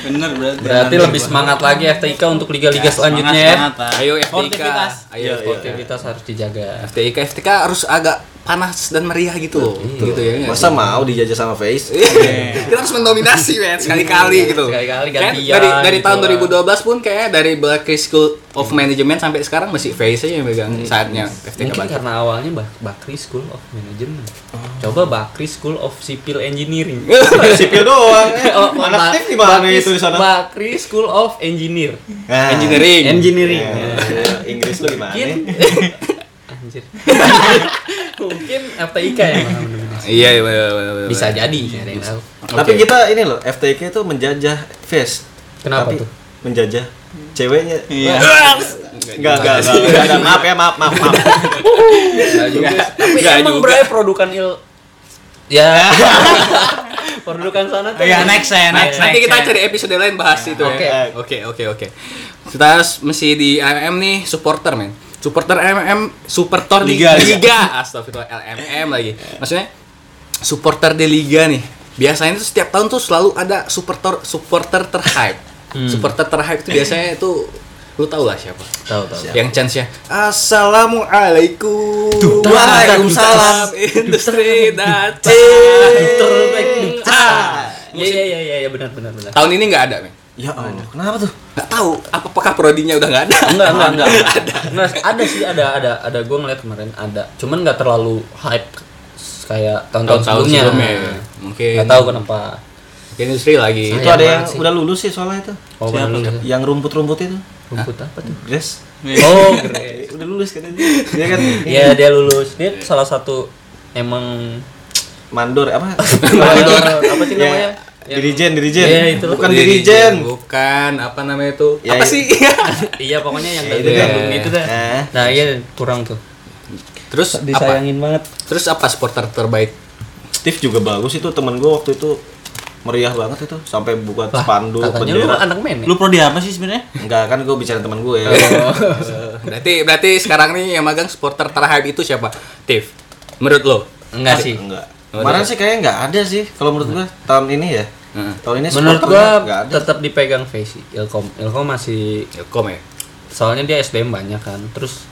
Bener berarti. Iya.
Berarti lebih semangat lagi FTIK untuk liga-liga selanjutnya ya.
ayo FTK.
Sportivitas.
Ayo FTK.
Sportivitas harus dijaga.
FTK FTK harus agak panas dan meriah gitu loh.
Iya.
Gitu ya. nggak sih? Iya.
Masa Iya. mau dijajah sama face?
kita harus mendominasi men sekali-kali gitu
Sekali-kali
Kayak
gantian
dari dari
gitu
tahun
lah.
2012 pun kayaknya dari Berkeley School of Management sampai sekarang masih face aja yang megang saatnya FTK
Iya. Mungkin
Bangkit.
karena awalnya Bak- Bakri School of Management. Coba Bakri School of Civil Engineering.
Sipil doang. eh.
Oh, Bak-
Anak Tiff di mana
Bakri-
itu di sana?
Bakri School of Engineer.
Nah.
engineering
Engineering. Iya.
Ya, Inggris lu gimana?
Mungkin Anjir. Mungkin FTIK ya.
iya iya, iya, iya, iya.
Bisa jadi, ada yang tahu.
Tapi
Oke.
kita ini loh, FTK itu menjajah face.
Kenapa
Tapi
tuh?
Menjajah ceweknya.
Iya.
Enggak, enggak, enggak.
Iya.
enggak, enggak. Maaf ya, maaf, maaf, maaf.
Nggak juga.
Tapi
Nggak
emang
juga.
Bray produkan il Ya. produkan sana tuh.
Iya, next ya, next.
nanti
next,
kita
ya.
cari episode lain bahas itu
Oke.
ya oke oke oke kita harus- mesti di MM nih supporter men supporter MM supporter di
Liga,
liga,
liga.
astagfirullah LMM lagi maksudnya supporter di liga nih biasanya tuh setiap tahun tuh selalu ada supporter supporter terhype supporter terhype itu biasanya itu lu tau lah siapa
Tahu tahu.
yang chance nya assalamualaikum
Waalaikumsalam.
industri
Terbaik.
datang Ah.
Iya iya iya iya ya, benar benar benar.
tahun ini nggak ada men
Ya Allah, kenapa tuh?
nggak tahu apakah prodinya udah nggak ada
Enggak enggak enggak. ada. ada sih ada ada ada gue ngeliat kemarin ada. Cuman nggak terlalu hype kayak tahun-tahun
Tahun-tahun
sebelumnya.
sebelumnya ya. Mungkin.
Nggak tahu kan. kenapa.
Mungkin industri lagi
Sayang
Itu ada yang
banget Iya, sih.
udah lulus sih soalnya itu.
Oh,
Siapa
benar.
Yang rumput-rumput itu.
Rumput apa tuh?
Grace.
Oh, keren.
Eh, udah lulus Iya kan dia. Dia kan
Iya, dia lulus. Dia salah satu emang
mandor apa?
Mandor, apa sih
Ya,
namanya? Yang-
dirijen, dirijen.
Iya, itu loh.
Bukan dirijen.
Bukan, apa namanya itu?
Ya,
apa
ya.
sih?
iya pokoknya yang
Ya,
tadi
itu
yang
deh.
itu dah
Nah.
nah iya kurang tuh
terus apa?
disayangin banget
Terus apa supporter terbaik?
Steve juga bagus itu temen gue waktu itu meriah banget itu sampai buat
Lah,
spanduk
katanya lu
bendera.
anak men ya?
Lu prodi apa sih sebenarnya?
Enggak kan gue bicara teman gue.
Oh,
Eh, Berarti berarti sekarang nih yang magang supporter terhype itu siapa? Tif. Menurut lo?
enggak sih
Enggak.
Oh,
Kemarin sih kayaknya nggak ada sih kalau menurut gue tahun ini ya.
Heeh.
Tahun ini
menurut
supporternya
gua
nggak ada.
tetap dipegang Faisy Ilkom Ilkom masih
Ilkom ya.
soalnya dia SDM banyak kan terus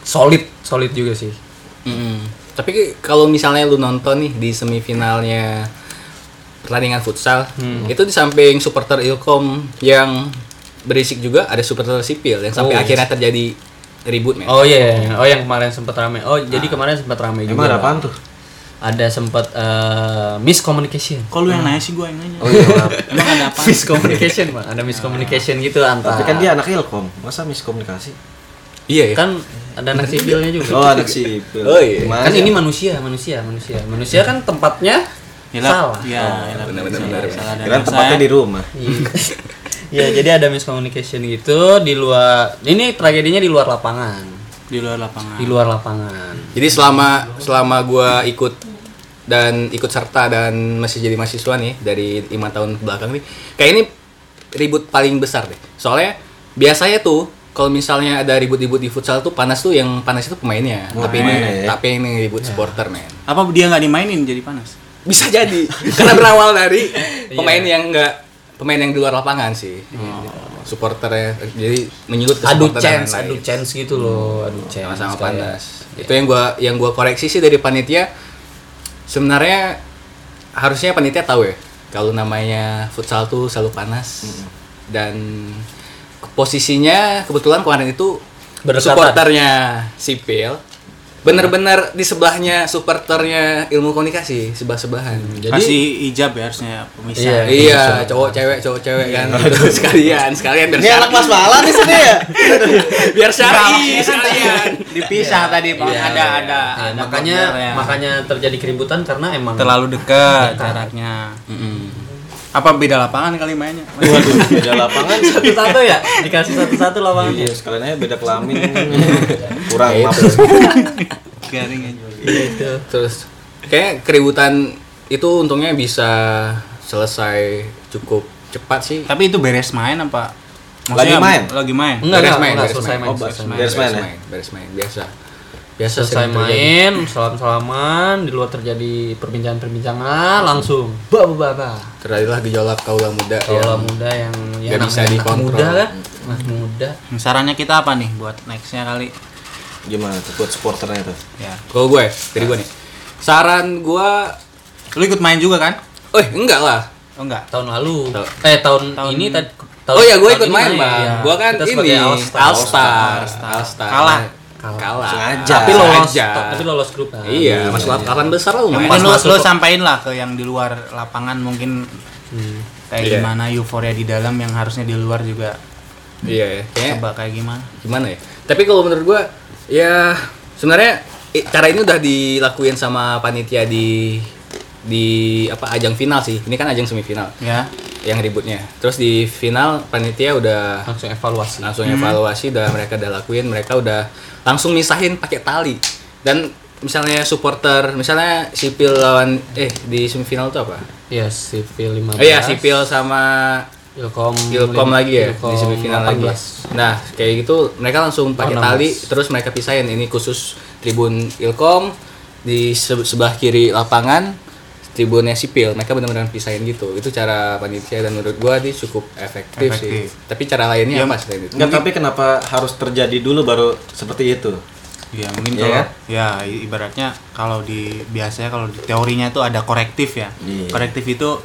solid solid juga sih
Tapi kalau misalnya lu nonton nih di semifinalnya pertandingan futsal, itu di samping supporter Ilkom yang berisik juga ada supporter sipil yang sampai
Oh.
akhirnya terjadi ribut men.
oh iya iya. oh yang kemarin sempat rame oh jadi kemarin sempat rame
Ah. Emang
juga
ada apaan tuh?
ada sempat eh, miscommunication
Kok lu yang nanya sih gua yang nanya? kan
oh iya emang ada apa miscommunication bang ada miscommunication gitu antara
Tapi kan dia anak ilkom, masa miskomunikasi?
Iya ya.
kan ada anak sipilnya juga
Oh anak sipil.
Oh, iya.
Gimana
kan
ya?
ini manusia manusia manusia manusia kan tempatnya salah Oh,
Iya, hilap.
benar-benar, benar-benar.
Salah, salah dari
Kira tempatnya di rumah.
Iya. Iya, jadi ada miscommunication gitu di luar. Ini tragedinya di luar lapangan.
saya. di luar lapangan.
Ah.
Di luar lapangan.
Jadi selama selama gua ikut dan ikut serta dan masih jadi mahasiswa nih dari lima tahun belakang nih, kayak ini ribut paling besar deh. Soalnya biasanya tuh kalau misalnya ada ribut-ribut di futsal tuh panas tuh yang panas itu pemainnya, tapi ini
pemainnya ya.
tapi ini ribut supporter men.
Apa dia nggak dimainin jadi panas?
Bisa jadi karena berawal dari pemain yang enggak pemain yang di luar lapangan sih. Supporternya jadi menyulut ke
Adu
supporter dan
chance,
lain-lain.
adu chance gitu loh, adu chance.
sama-sama
Kayak-
panas. Itu yang gua yang gua koreksi sih dari panitia. Sebenarnya harusnya panitia tahu ya kalau namanya futsal tuh selalu panas dan posisinya kebetulan kemarin itu
Berdekatan.
supporternya sipil bener-bener di sebelahnya supporternya ilmu komunikasi sebelah sebelahan jadi
Kasih ijab ya harusnya pemisah.
Iya.
iya cowok cewek cowok cewek kan gitu. sekalian sekalian biar
Ini anak
syari
mas malah di sini ya.
biar
Iya,
syari sekalian
Iya, Dipisah tadi Bang. ada ada
Nah,
ada
makanya
bordernya.
ya.
makanya Iya. terjadi keributan karena emang
terlalu dekat jaraknya. Apa beda lapangan kali mainnya?
Waduh, beda lapangan.
satu-satu ya, dikasih satu-satu lawangannya.
Iya, sekalian aja beda kelamin. Kurang
Ya,
maaf.
Garing ya. aja.
Gitu.
Terus kayak keributan itu untungnya bisa selesai cukup cepat sih.
Tapi itu beres main apa?
Lagi main?
Lagi main.
Enggak,
Beres
enggak,
main,
enggak,
beres
selesai
main.
main.
Oh,
selesai
beres
main.
Beres main,
main ya?
beres main biasa. Biasa
Selesai
sering terjadi.
main, salam-salaman, di luar terjadi perbincangan-perbincangan, langsung ba ba ba. ba.
Terjadilah gejolak kaula muda ya.
Kaula
yang
muda yang
Nggak Iya. bisa
namanya anak
dikontrol.
Muda kan? Mas muda.
Hmm, Sarannya kita apa nih buat nextnya kali?
Gimana tuh buat supporternya tuh?
Ya.
kalau gue dari gue nih. Saran gue,
Lu ikut main juga kan?
eh enggak lah.
Oh enggak.
Tahun lalu.
Tahun-
Eh tahun, ini tadi tahun-
oh ya gue
tahun
ikut
ini
main bang.
Iya.
Gue kan
Kita
ini
sebagai
All
all-star.
Star, All Star,
Kalah.
Kalah.
kalah.
Sengaja.
Tapi lolos,
Sengaja.
tapi lolos grup. kan?
Iya, masuk lapangan besar lah lumayan.
Mungkin lu,
masuk
lu
kok.
sampaikan lah ke yang di luar lapangan mungkin
Hmm.
kayak
Iya.
gimana euforia di dalam yang harusnya di luar juga
Iya, ya. Kayaknya
coba kayak gimana?
gimana ya tapi kalau menurut gua ya sebenarnya i- cara ini udah dilakuin sama panitia di di apa ajang final sih ini kan ajang semifinal
Ya.
yang ributnya terus di final panitia udah
Langsung evaluasi.
langsung evaluasi udah mereka udah lakuin mereka udah langsung misahin pakai tali dan misalnya supporter misalnya sipil lawan eh di semifinal tuh apa
Iya, sipil 15.
oh iya sipil sama
Ilkom
Ilkom lagi ya di
Ilkom
semifinal lagi.
18.
Nah, kayak gitu mereka langsung pakai
Oh, 16.
tali terus mereka pisahin ini khusus tribun Ilkom di se- sebelah kiri lapangan tribunnya sipil. Mereka benar-benar pisahin gitu. Itu cara panitia dan menurut gua ini cukup efektif, sih.
Efektif. Ya,
Tapi cara lainnya apa selain itu?
Enggak, tapi kenapa harus terjadi dulu baru seperti itu?
Ya mungkin
Iya
kalau
kan?
ya i- ibaratnya kalau di biasanya kalau di teorinya itu ada korektif ya.
Iya.
Korektif itu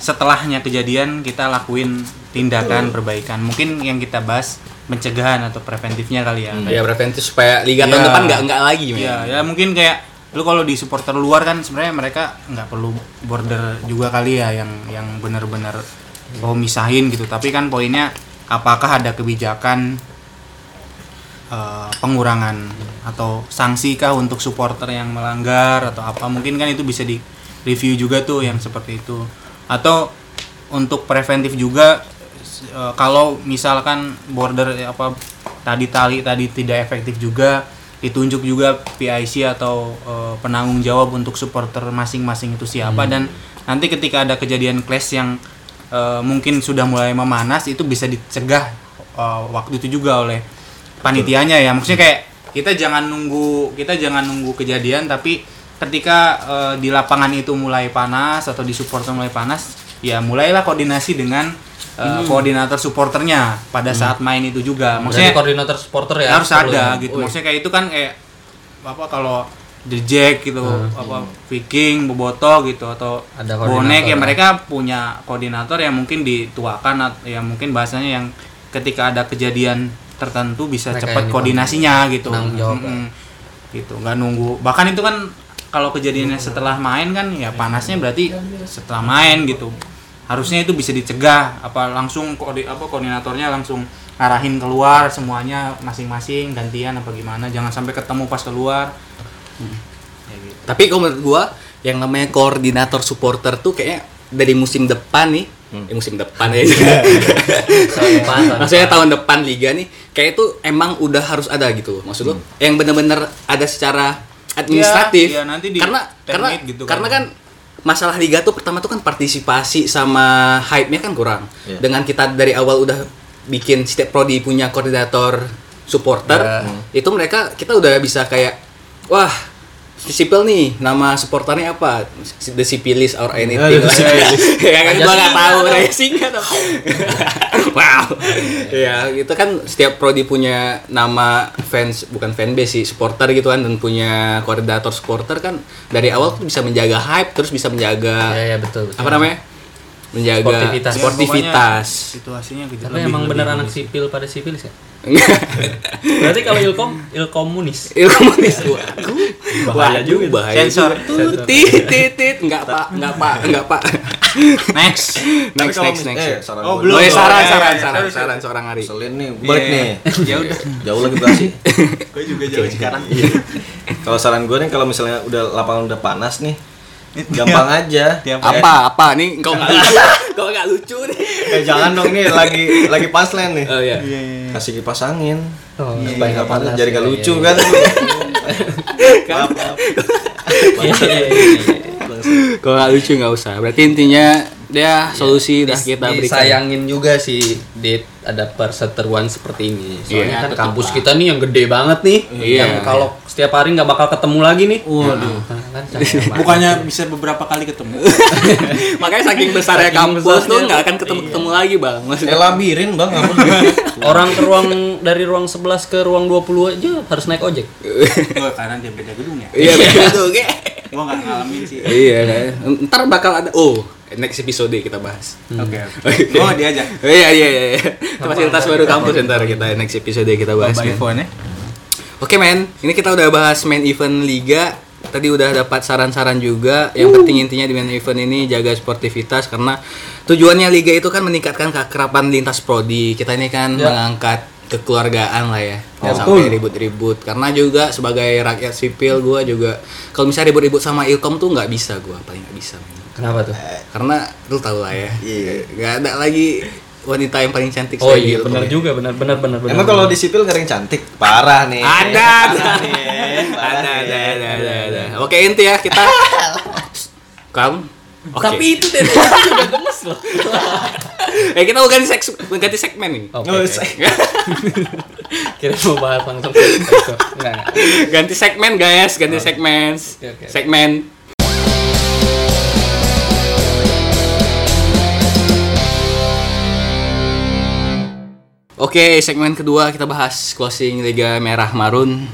setelahnya kejadian kita lakuin tindakan perbaikan. Mungkin yang kita bahas pencegahan atau preventifnya kali ya.
Hmm.
Ya preventif supaya liga tahun
Iya.
depan nggak nggak lagi. men.
Iya, ya mungkin kayak lu kalau di supporter luar kan sebenarnya mereka nggak perlu border juga kali ya yang yang benar-benar mau misahin gitu. Tapi kan poinnya apakah ada kebijakan eh, pengurangan atau sanksi kah untuk supporter yang melanggar atau apa? Mungkin kan itu bisa di review juga tuh yang seperti itu atau untuk preventif juga s- eh, kalau misalkan border eh, apa tadi tali tadi tidak efektif juga ditunjuk juga PIC atau eh, penanggung jawab untuk supporter masing-masing itu siapa dan nanti ketika ada kejadian clash yang eh, mungkin sudah mulai memanas itu bisa dicegah eh, waktu itu juga oleh panitianya ya maksudnya kayak kita jangan nunggu kita jangan nunggu kejadian tapi ketika eh, di lapangan itu mulai panas atau di supporter mulai panas ya mulailah koordinasi dengan eh, koordinator supporternya pada saat main itu juga
Maksudnya
maksudnya
koordinator supporter ya
harus
perlu
ada
ya?
gitu
Wih.
maksudnya kayak itu kan kayak apa kalau The Jack gitu apa Viking Boboto gitu atau
Hmm. Ada
bonek ya
koordinator.
mereka punya koordinator yang mungkin dituakan at- ya mungkin bahasanya yang ketika ada kejadian tertentu bisa
Mereka yang
cepat
dipanggil.
koordinasinya gitu
Tanggung jawab,
Mm-mm. gitu nggak nunggu bahkan itu kan kalau kejadiannya setelah main kan ya panasnya berarti setelah main gitu harusnya itu bisa dicegah apa langsung koordi- apa koordinatornya langsung arahin keluar semuanya masing-masing gantian apa gimana jangan sampai ketemu pas keluar
Tapi kalau menurut gua yang namanya koordinator supporter tuh kayaknya dari musim depan nih,
Hmm.
eh, musim depan ya.
Tahun depan, tahun
Maksudnya
depan.
tahun depan liga nih kayak itu emang udah harus ada gitu. loh. Maksud lu yang bener-bener ada secara administratif.
Hmm. Iya, iya, nanti di
karena karena
termit gitu kan.
karena kan masalah liga tuh pertama tuh kan partisipasi sama hype-nya kan kurang.
Iya.
Dengan kita dari awal udah bikin setiap prodi punya koordinator supporter,
Iya.
Hmm. itu mereka kita udah bisa kayak wah sipil nih nama supporternya apa the sipilis or anything
Iya, The Sipilis.
ya kan
Raja
gua nggak tahu kan.
singa dong.
Raja singa dong. wow ya itu kan setiap prodi punya nama fans bukan fanbase sih supporter gitu kan dan punya koordinator supporter kan dari awal tuh bisa menjaga hype terus bisa menjaga
Iya, iya, betul, betul.
apa namanya menjaga
Sportivitas.
sportivitas,
Ya,
Ya, Iya, pokoknya situasinya gitu
Tapi
Lebih-
emang
lebih-
bener
lebih-
anak sipil pada sipil ya? Berarti kalau ilkom ilkomunis.
Iya. ilmu komunis gua Waduh,
Bahaya juga.
bahaya
Sensor.
juga. tit tit tit nggak pak nggak pak nggak pak
next
Tapi
next
kalau
next
mis-
next
eh, saran
Oh,
gua.
belum.
Oh, ya, saran saran
Iya, iya,
saran
sorry, sorry.
saran seorang hari
Selin nih, balik
Iya.
nih.
ya udah
Jauh lagi berhasil.
gue juga jauh sekarang
kalau saran gue nih kalau misalnya udah lapangan udah panas nih, gampang aja.
Tiap-
Eh,
apa apa nih kau nggak lucu kau nggak lucu nih
eh, jangan dong nih lagi lagi paslen nih.
oh ya
Iya, iya, iya.
Kasih kipas angin.
Oh,
Supaya nggak panas, jadi nggak
Iya,
lucu
iya,
kan.
Kan?
maaf, maaf.
Iya, iya, iya, iya.
kau nggak lucu nggak usah berarti intinya dia solusi dah
Dis-
Iya, kita berikan
disayangin juga sih di ada perseteruan seperti ini soalnya
Iya,
kan kampus kita nih yang gede banget nih
Iya.
yang kalau setiap hari nggak bakal ketemu lagi nih waduh kan sayang banget.
bukannya bisa beberapa kali ketemu
makanya saking besarnya Iya.
Saking
kampus tuh
besarnya.
nggak akan ketemu ketemu lagi bang
Eh
maksudnya
labirin bang, apa?
orang ke ruang dari ruang 11 ke ruang 20 aja harus naik ojek
gue karena dia beda gedung ya
iya betul tuh Ge.
gue nggak ngalamin sih oke
iya kan. ntar bakal ada oh next episode kita bahas
oke gue diajak
iya iya iya iya. fasilitas baru kampus ntar kita next episode kita bahas kan.
by
men.
phone ya
Oke men, ini kita udah bahas main event liga. Tadi udah dapat saran-saran juga. Yang penting intinya di main event ini jaga sportivitas karena tujuannya liga itu kan meningkatkan keakraban lintas prodi. Kita ini kan mengangkat kekeluargaan lah ya. Jangan sampai ribut-ribut. Karena juga sebagai rakyat sipil gua juga kalau misalnya ribut-ribut sama Ilkom tuh nggak bisa gua, paling nggak bisa. men.
kenapa tuh
Karena lu tau lah ya.
Iya.
Gak ada lagi wanita yang paling cantik
oh
selain
iya
Ilkom,
benar
ya.
juga benar benar benar benar.
Emang kalau di sipil nggak ada yang cantik? Parah nih.
Ada, ada,
Parah nih, parah
ada, ada,
nih.
ada, ada, ada. Oke inti ya kita. Kamu. Oke.
tapi itu deh itu udah gemes loh
eh kita mau ganti seks, mau ganti segmen nih.
oke
Oh,
oke.
saya-
kira mau bahas langsung ke itu enggak enggak.
Ganti segmen guys, ganti segmen.
oke.
Segmen. Oke, segmen kedua kita bahas closing Liga Merah Marun.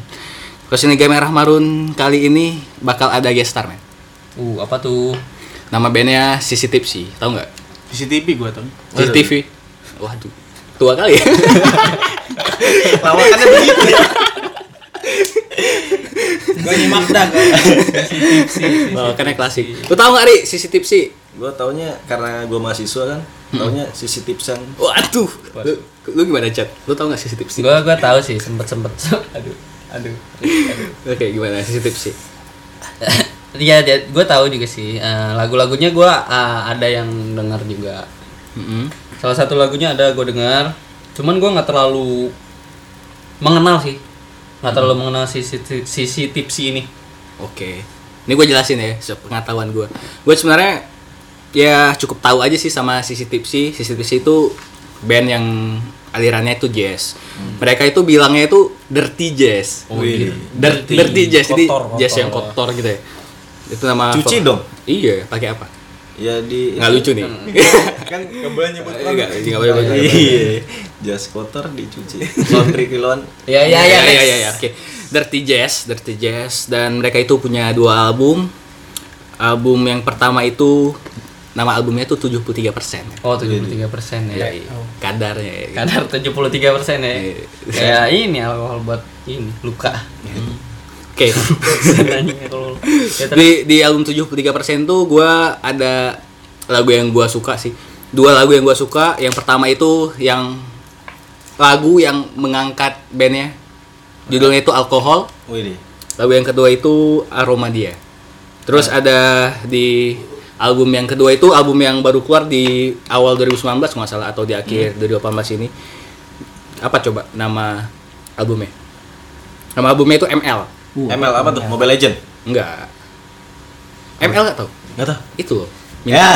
Closing Liga Merah Marun kali ini bakal ada guest star, men.
uh apa tuh
Nama bandnya Sisi Tipsy, tahu nggak?
CCTV gue tuh
Sisi TV. Waduh, tua kali ya.
Lawakannya begitu.
gue nyimak dah
Oh, karena klasik. Lu tahu nggak Ri Sisi Tipsy?
Gue taunya karena gue mahasiswa kan, taunya sisi tipsan.
Waduh. Lu, lu gimana chat? Lu tahu nggak Sisi Tipsy?
gua gua tahu sih sempet sempet aduh aduh
Oke, gimana Sisi Tipsy?
Iya, gue tahu juga sih. Eh, lagu-lagunya gue eh, ada yang dengar juga. Salah satu lagunya ada gue dengar. Cuman gue nggak terlalu mengenal sih. Nggak terlalu mengenal sisi sisi tipsi ini.
Oke. Ini gue jelasin ya, pengetahuan gue. Gue sebenarnya ya cukup tahu aja sih sama Sisi Tipsy. Sisi Tipsy itu band yang alirannya itu jazz. Mereka itu bilangnya itu dirty jazz.
Wih.
Dir-
Dirty.
dirty, jazz, jadi
Kotor, kotor.
jazz yang kotor gitu ya. Itu nama
Cuci
kok-
dong.
Iya, pakai apa?
Ya di
Nggak lucu nih.
kan nggak boleh nyebut
Enggak, enggak boleh boleh, boleh.
Iya. Jas kotor dicuci. Laundry kiloan.
Ya ya ya.
ya,
next.
ya, ya, Oke. Dirty Jazz, Dirty Jazz dan mereka itu punya dua album. Album yang pertama itu nama albumnya itu 73% ya.
Oh 73 persen ya.
Iya, iya. kadarnya ya.
Kadar 73 persen ya.
Iya.
Kayak ini alkohol buat ini luka.
Oke.
Anjing, alkohol. Ya, terus.
di di album 73% tuh gua ada lagu yang gua suka sih. Dua lagu yang gua suka. Yang pertama itu yang lagu yang mengangkat bandnya. Judulnya itu Alkohol.
Wih.
Lagu yang kedua itu Aroma Dia. Terus ada di album yang kedua itu album yang baru keluar di awal 2019 kalau nggak salah atau di akhir 2018 ini. Apa coba nama albumnya? Nama albumnya itu ML.
ML apa tuh? Mobile Legend.
Enggak. ML nggak tahu.
Enggak tahu.
Itu loh.
Ya.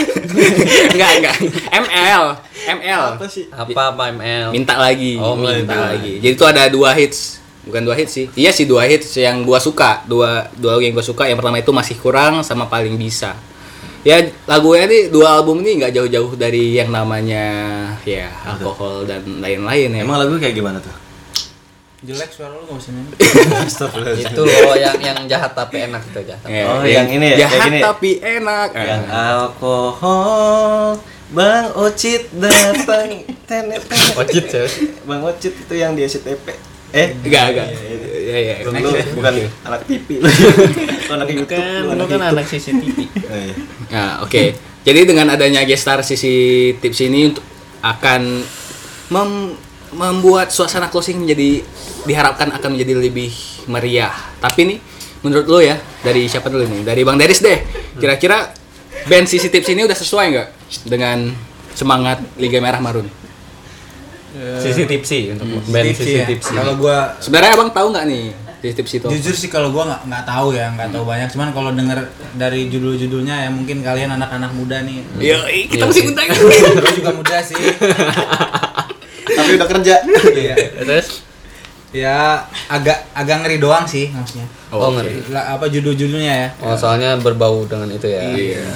enggak, enggak. ML, ML.
Apa sih?
apa apa ML.
Minta lagi.
Oh,
minta
minta.
lagi. Jadi itu ada dua hits. Bukan dua hits sih. Iya sih dua hits yang gua suka. Dua dua lagu yang gua suka. Yang pertama itu masih kurang sama paling bisa. Ya lagunya nih dua album ini nggak jauh-jauh dari yang namanya ya alkohol dan lain-lain ya.
Emang lagu kayak gimana tuh?
Jelek suara lu gak usah nyanyi.
Astagfirullahaladzim.
itu loh yang yang jahat tapi enak itu jahat.
Ya,
Oh, yang ini ya,
Jahat
yang ini ya?
tapi enak.
Yang ah. alkohol Bang Ocit datang tenet tenet.
Ocit, ya?
Bang Ocit itu yang di SCTP Eh,
Enggak, enggak. Ya, ya.
Lu, lu bukan anak TV. Lu anak YouTube.
Kan
lu
lu kan
YouTube.
anak CCTV.
Eh, iya.
Nah, oke. Jadi dengan adanya gestar sisi tips ini untuk- akan mem- membuat suasana closing menjadi diharapkan akan menjadi lebih meriah. Tapi nih menurut lo ya dari siapa dulu nih? Dari Bang Deris deh. Kira-kira band sisi tips ini udah sesuai nggak dengan semangat Liga Merah Marun?
Sisi tipsi untuk band
ya.
sisi tipsi. Nah,
Kalau gua
Sebenarnya Abang tahu nggak nih sisi tips itu?
jujur sih kalau gua nggak nggak tahu ya, nggak tahu banyak. Cuman kalau denger dari judul-judulnya ya mungkin kalian anak-anak muda nih.
Ya, kita masih muda ini.
Gua juga muda sih.
Tapi udah kerja.
Oh,
Iya.
Terus
ya agak agak ngeri doang sih maksudnya.
oh, ngeri.
Lah, apa judul-judulnya ya?
Oh, soalnya berbau dengan itu ya.
Iya.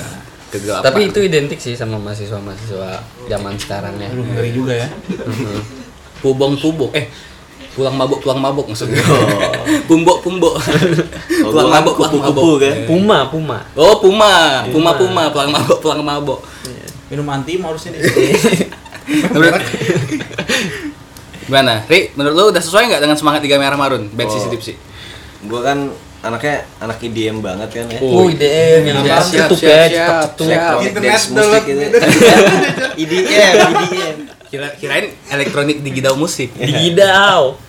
Kegelapan.
Tapi itu identik sih sama mahasiswa-mahasiswa zaman sekarang ya.
Aduh, ngeri juga ya.
Pubong-pubong. Eh, pulang mabuk pulang mabuk maksudnya. pumbok pumbok. pulang
gua
mabuk pulang
kupu-kupu
mabuk.
kan.
Puma, Puma.
Oh, puma, puma puma pulang mabuk pulang mabuk.
Minum anti mau harusnya nih.
Gimana? Ri, menurut lo udah sesuai nggak dengan semangat tiga merah marun band sisi tipsi?
Gua kan anaknya anak IDM banget kan ya.
Oh, IDM yang
Siap, siap,
cetup
siap,
ya,
siap,
cetup.
siap.
Internet musik gitu. E IDM, IDM.
Kira kirain elektronik digidau musik.
Digidau.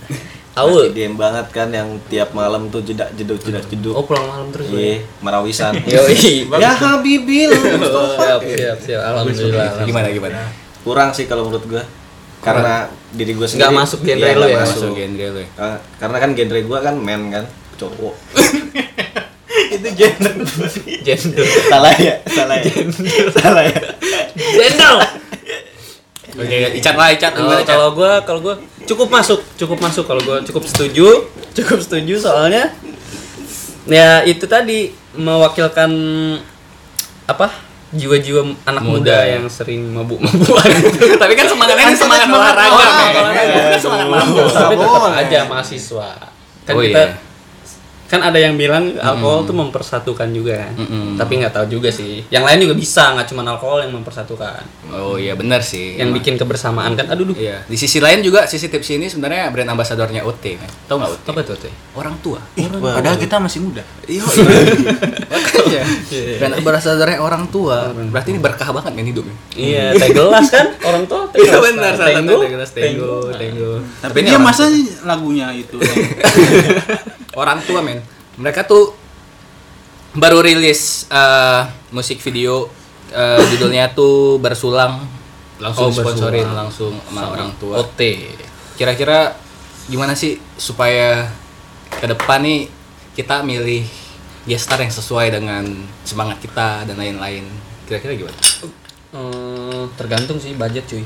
Aul.
IDM banget kan yang tiap malam tuh jedak jeduk jedak jeduk.
Oh, pulang malam terus. ya?
Iya, marawisan.
Yoi.
ya Habibil.
Oh, Siap, siap, siap. Alhamdulillah.
Gimana gimana?
Kurang sih kalau menurut gua. Karena diri gua
Nggak
sendiri
masuk genre
Iya,
lu
nggak
ya?
Masuk genre lo ya.
Ah, Karena kan genre gua kan men kan, cowok.
Itu gender.
Jendel.
salah ya, salah ya. salah ya.
Jendel.
Oke, Icat lah, Icat.
Kalau
Gimana, Icat?
Oh, kalau gua kalau gua cukup masuk, cukup masuk kalau gua cukup setuju, cukup setuju soalnya ya itu tadi mewakilkan apa? jiwa-jiwa anak muda,
Muda. ya.
yang sering mabuk-mabukan. Tapi
Tapi kan semangatnya ini semangat olahraga. kan?
olahraga, kan?
men. Iya,
olahraga.
Bukan semangat mabuk.
tetap aja mahasiswa. Kan
Oh,
kita
iya.
kan ada yang bilang alkohol tuh mempersatukan juga kan.
Mm-mm.
Tapi nggak tahu juga sih. Yang lain juga bisa, nggak cuma alkohol yang mempersatukan.
Oh iya benar sih.
Yang bikin kebersamaan kan. Aduh duh.
Iya. Di sisi lain juga sisi tips ini sebenarnya brand ambasadornya OT, men. Tahu nggak OT?
Apa tuh teh?
Orang tua.
Padahal kita masih muda.
Iya. Makanya. Brand ambasadornya Iya, orang tua. Berarti ini berkah banget men hidupnya.
Iya, teh gelas kan? Orang tua teh
Iya
gelas.
benar,
kan?
salah satu
Tenggo.
Tegelas, Tenggo, Tenggo.
Tapi dia masa lagunya itu.
orang tua men. Mereka tuh baru rilis eh, musik video eh, judulnya tuh bersulang langsung
Oh,
sponsorin
Bersulang.
langsung sama orang tua.
OT.
Kira-kira gimana sih supaya ke depan nih kita milih gestar yang sesuai dengan semangat kita dan lain-lain. Kira-kira gimana?
Eh, tergantung sih budget cuy.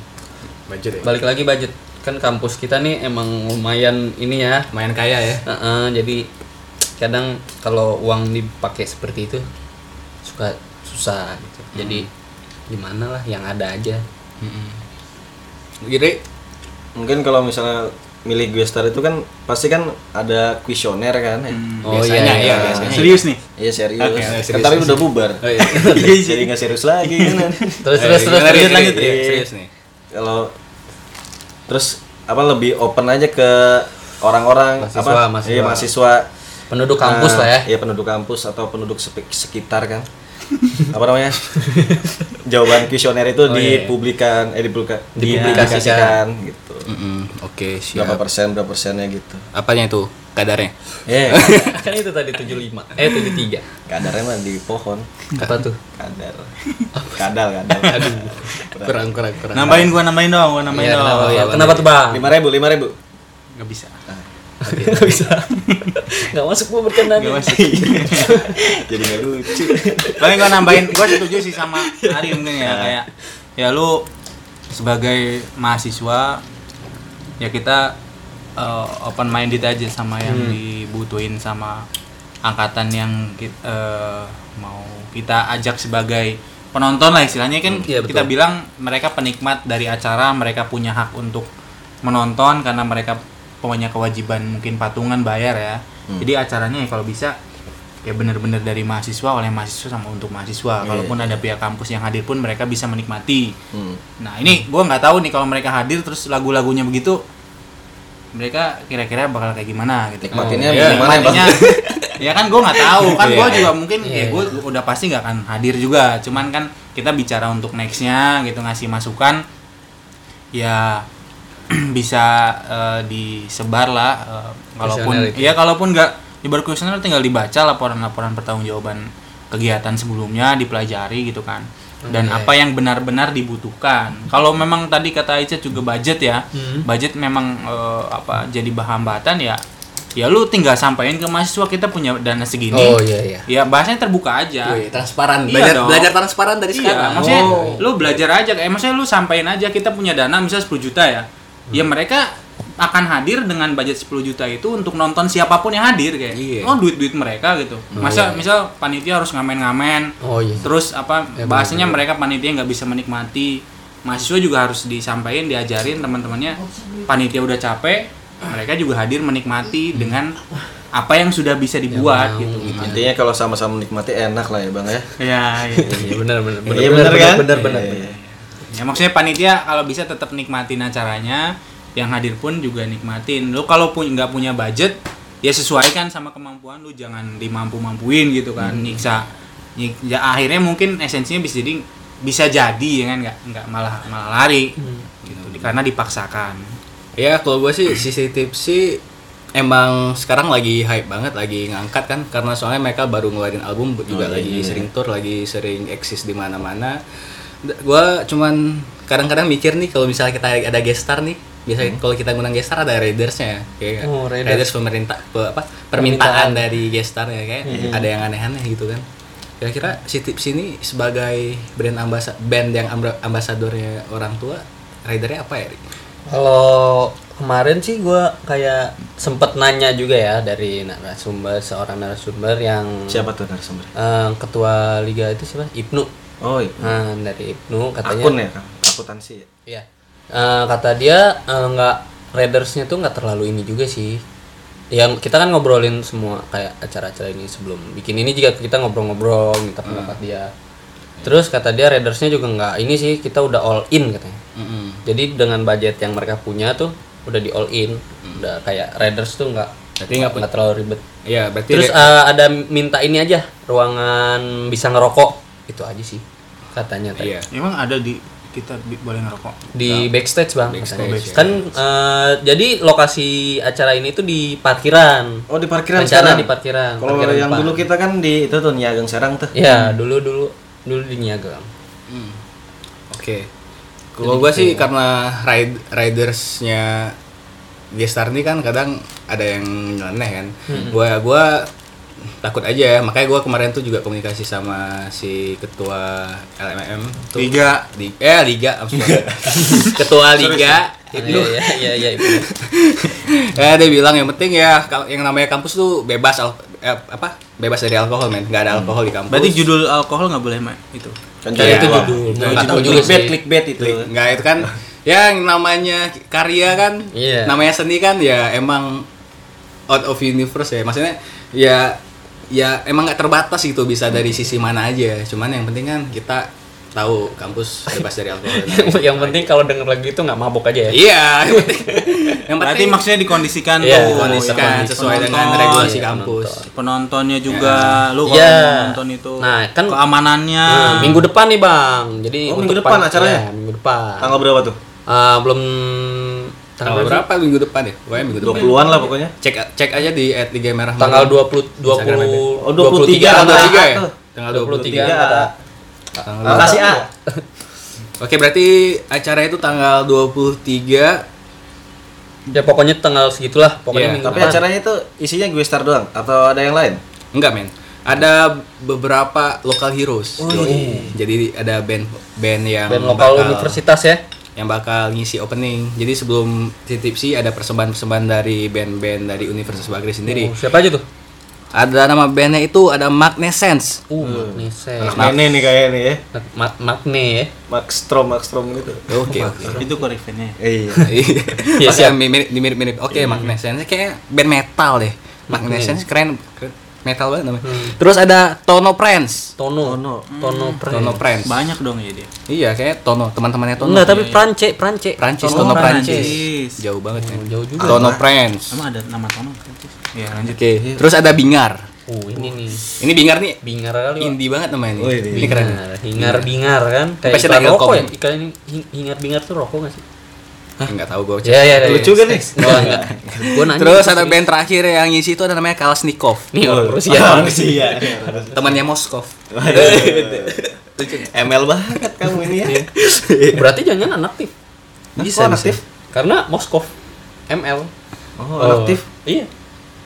Budget ya.
Balik lagi budget. Kan kampus kita nih emang lumayan ini ya.
Lumayan kaya ya.
Heeh, jadi kadang kalau uang dipakai seperti itu suka susah gitu. Jadi gimana lah yang ada aja.
Jadi
Mungkin kalau misalnya milih gestar itu kan pasti kan ada kuesioner kan ya.
Oh
Biasanya, iya,
Nah,
biasanya.
Serius nih.
Iya serius.
Oke,
Kan
serius,
tapi
serius.
udah bubar.
Oh, iya.
Jadi nggak serius lagi kan.
Terus
Eh,
terus terus
gimana,
terus
Ri?
lanjut. Iya,
Ri,
Ri.
Serius nih.
Iya, Kalau terus apa lebih open aja ke orang-orang
Mahasiswa,
apa
mahasiswa.
iya mahasiswa
Penduduk kampus
Nah,
lah ya.
Iya penduduk kampus atau penduduk sepi- sekitar kan. apa namanya? Jawaban kuesioner itu dipublikan eh dipublika-
Oh, iya, Dipublikasikan. Iya.
dipublikasikan gitu.
Mm-mm, Oke, siap.
Berapa persen berapa persennya gitu.
Apanya itu? Kadarnya?
Eh,
kan itu tadi 75. Eh 73.
kadarnya mah di pohon.
Apa tuh?
Kadar. Kadal, kadal. Aduh.
Kurang kurang kurang.
Nambahin gua nambahin dong, gua nambahin
Iya,
dong.
kenapa,
Oh, iya,
kenapa tuh, Bang?
Lima ribu, lima ribu.
Nggak bisa.
Enggak bisa. Enggak masuk gua bercanda nih.
Nggak masuk.
Jadi nggak lucu.
Paling gua nambahin, gua setuju sih sama Ari mungkin ya kayak ya lu sebagai mahasiswa ya kita eh, open minded aja sama yang
Hmm.
dibutuhin sama angkatan yang kita, mau kita ajak sebagai penonton lah istilahnya kan
Iya, betul.
kita bilang mereka penikmat dari acara mereka punya hak untuk menonton karena mereka punya kewajiban mungkin patungan bayar ya
Hmm.
jadi acaranya ya kalau bisa ya bener-bener dari mahasiswa oleh mahasiswa sama untuk mahasiswa kalaupun ada pihak kampus yang hadir pun mereka bisa menikmati
Hmm.
Nah ini gue nggak tahu nih kalau mereka hadir terus lagu-lagunya begitu mereka kira-kira bakal kayak gimana gitu.
Nikmatinnya
Ya,
gimana bang?
nikmatinya- ya kan gue nggak tahu kan gue
Iya.
juga mungkin
Iya,
ya gue udah pasti nggak akan hadir juga. Cuman kan kita bicara untuk nextnya gitu ngasih masukan ya bisa eh, disebar lah eh, kalaupun
Kuesioner itu.
ya kalaupun nggak di kuesioner tinggal dibaca laporan-laporan pertanggungjawaban kegiatan sebelumnya dipelajari gitu kan dan
Oke.
apa yang benar-benar dibutuhkan kalau memang tadi kata Aisyah juga budget ya
Hmm.
budget memang eh, apa jadi bahan hambatan ya ya lu tinggal sampaikan ke mahasiswa kita punya dana segini
Oh iya iya. Oh,
ya bahasanya terbuka aja
Wih, transparan.
Iya
Belajar
dong.
belajar transparan dari
Iya,
sekarang.
maksudnya
Oh.
lu belajar aja, kayak maksudnya lu sampaikan aja kita punya dana misalnya 10 juta ya. Ya mereka akan hadir dengan budget 10 juta itu untuk nonton siapapun yang hadir kayak.
Iya.
Oh, duit-duit mereka gitu. Masa misal panitia harus ngamen-ngamen.
Oh iya.
Terus apa bahasanya mereka panitia nggak bisa menikmati. Mahasiswa juga harus disampaikan, diajarin teman-temannya. Panitia udah capek, mereka juga hadir menikmati dengan apa yang sudah bisa dibuat gitu.
Intinya kalau sama-sama menikmati enak lah ya bang ya.
Ya, ya.
Iya benar benar benar.
Iya bener kan?
Benar benar.
Iya.
benar. Hmm.
Ya maksudnya panitia kalau bisa tetap nikmatin acaranya, yang hadir pun juga nikmatin. Lu kalau pun nggak punya budget, ya sesuaikan sama kemampuan lu, jangan dimampu-mampuin gitu kan,
Hmm.
nyiksa. Nyik- ya akhirnya mungkin esensinya bisa jadi bisa jadi ya kan nggak nggak malah malah lari
Hmm.
gitu di- karena dipaksakan.
Ya kalau gue sih sisi tipsi emang sekarang lagi hype banget, lagi ngangkat kan karena soalnya mereka baru ngeluarin album juga
Oh, iya,
lagi
iya.
sering tour, lagi sering eksis di mana-mana. D- Gua cuman kadang-kadang mikir nih kalau misalnya kita ada gestar nih, biasanya
Hmm.
kalau kita ngundang gestar ada raidersnya kayak
Oh,
raiders.
raiders.
pemerintah pe- apa permintaan
Permintaan.
dari gestarnya kayak
Hmm,
ada yang aneh-aneh gitu kan. Kira-kira si tips ini sebagai brand ambasa band yang ambra- ambasadornya orang tua, ridernya apa ya? Rik?
Hmm.
Kalau kemarin sih gua kayak sempet nanya juga ya dari narasumber seorang narasumber yang
Siapa tuh narasumber?
eh, ketua liga itu siapa? Ibnu.
Oh, iya.
Nah, dari Ibnu katanya
akun ya, Kang? akuntansi ya.
Iya. Eh, kata dia eh, nggak Raidersnya tuh nggak terlalu ini juga sih. Ya kita kan ngobrolin semua kayak acara-acara ini sebelum bikin ini juga kita ngobrol-ngobrol minta
Hmm.
pendapat dia. Terus kata dia Raidersnya juga nggak ini sih kita udah all in katanya. Jadi dengan budget yang mereka punya tuh udah di all in, udah kayak Raiders tuh nggak
Hmm. Berarti nggak
nggak terlalu ribet.
Iya, berarti
Terus eh, ada minta ini aja ruangan bisa ngerokok itu aja sih katanya tadi.
Iya.
Emang ada di kita bi- boleh ngerokok?
di backstage bang
Nah. Backstage, iya.
Katanya. kan eh, jadi lokasi acara ini tuh di parkiran
Oh di parkiran
Rencana
sekarang.
di parkiran,
Kalau
parkiran
yang
depan.
dulu kita kan di itu tuh Niagang Serang tuh.
ya dulu dulu dulu di Niaga
Oke. Kalau gua sih karena ride ridersnya Gestar nih kan kadang ada yang nyeleneh kan. Gua gua takut aja ya. makanya gua kemarin tuh juga komunikasi sama si ketua LMM tuh.
Liga.
Di- eh liga I'm sorry. ketua liga
Iya iya iya iya
eh dia bilang yang penting ya kalau yang namanya kampus tuh bebas al- eh, apa bebas dari alkohol men nggak ada alkohol di kampus
Berarti judul alkohol nggak boleh main itu.
Iya,
Kan
Kayak Iya. itu judul.
Nah,
Nggak
judul
tahu juga
clickbait,
sih.
clickbait itu.
Enggak itu kan ya yang namanya karya kan,
Iya.
namanya seni kan ya emang out of universe ya. Maksudnya ya ya emang nggak terbatas gitu bisa dari sisi mana aja. Cuman yang penting kan kita tahu kampus bebas dari alkohol.
yang penting kalau denger lagu itu nggak mabok aja ya
Iya, yang penting. Yang
Berarti
penting
maksudnya dikondisikan
Iya,
tuh.
dikondisikan
ya.
sesuai dengan
Penonton,
regulasi
Iya,
kampus.
Penontonnya juga lu kalau
Iya.
mau nonton itu.
Nah, kan-
keamanannya.
Nah, minggu depan nih bang jadi
Oh,
untuk
minggu depan
pan-
acaranya?
Iya, minggu depan
Tanggal berapa tuh?
Eh, belum
Tanggal berapa minggu depan ya? Pokoknya minggu depan.
20-an lah pokoknya.
Cek cek aja di at Liga Merah. Muda.
tanggal 20
Instagram aja.
20
Oh, 23.
tanggal 23 ya?
Tuh.
Tanggal
23.
23. Tanggal
Ah, Kasih A.
Oke, berarti acara itu tanggal 23
ya pokoknya tanggal segitulah pokoknya
Iya,
minggu
Tapi
depan.
acaranya itu isinya gue star doang atau ada yang lain?
Enggak men, ada beberapa local heroes. Yoi. Jadi ada band Oh, iya. band yang
band lokal
bakal-
universitas ya
yang bakal ngisi opening. Jadi sebelum Titipsi ada persembahan-persembahan dari band-band dari Universitas Bagri sendiri.
Oh, siapa aja tuh
Ada nama bandnya itu ada Magnescence.
uh Magne Sen.
Magne nih kayaknya nih ya.
Ma- Magne ya
Mark Strom, Mark Strom gitu.
Oke, oke.
Itu koreknya.
Iya.
Iya, siap. Iya, Mirip, mirip-mirip. Oke, Magnescence kayaknya band metal deh. Magnescence keren, keren. metal banget namanya. Terus ada Tono Prince.
Tono Tono Tono Pran
Tono Prince.
Iya. Banyak dong ya dia.
Iya, kayak Tono, teman-temannya Tono.
enggak tapi Prance Prance
Prancis,
Tono
Tono Prancis.
Prancis.
Jauh banget ya.
Hmm, Oh, jauh juga
Tono Prancis.
Emang ada nama Tono Prancis? Iya,
Oke,
lanjut.
terus ada Bingar.
uh ini nih
Ini Bingar nih
bingar kali Pak.
indie banget namanya.
Oh,
iya,
ini.
ini.
Ini keren. nih.
Nah, hingar bingar kan kayak
Pasti
iklan
ada
rokok ya
ilkom.
iklan ini hing- hingar bingar tuh rokok nggak sih
Enggak tahu gue.
ya ya ya
Lucu kan nih?
oh, enggak gua nanya
Terus ada band terakhir yang ngisi itu ada namanya Kalashnikov.
nih
Oh,
orang Rusia
Orang Rusia.
Temannya Moskov.
ML banget kamu ini ya.
berarti jangan anak aktif
Bisa aktif.
karena Moskov ML
ya? Oh, anak aktif.
iya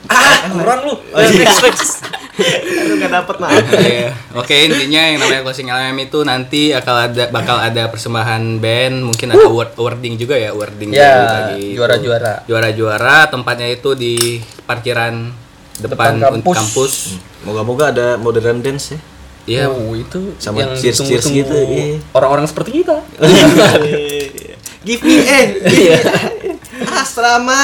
ah kurang lu
Oh, iya. Aduh enggak dapat maaf.
Iya. Oke, intinya yang namanya closing LM itu nanti bakal ada bakal ada persembahan band, mungkin ada award awarding juga ya, awarding
Ya,
dari pagi itu.
juara-juara.
Juara-juara, tempatnya itu di parkiran depan,
Depan
kampus.
kampus.
Moga-moga ada modern dance ya.
Iya.
Oh, itu
Sama
yang
cheers-cheers
ditunggu-tunggu
gitu, iya.
orang-orang seperti kita
Give me eh. Asrama.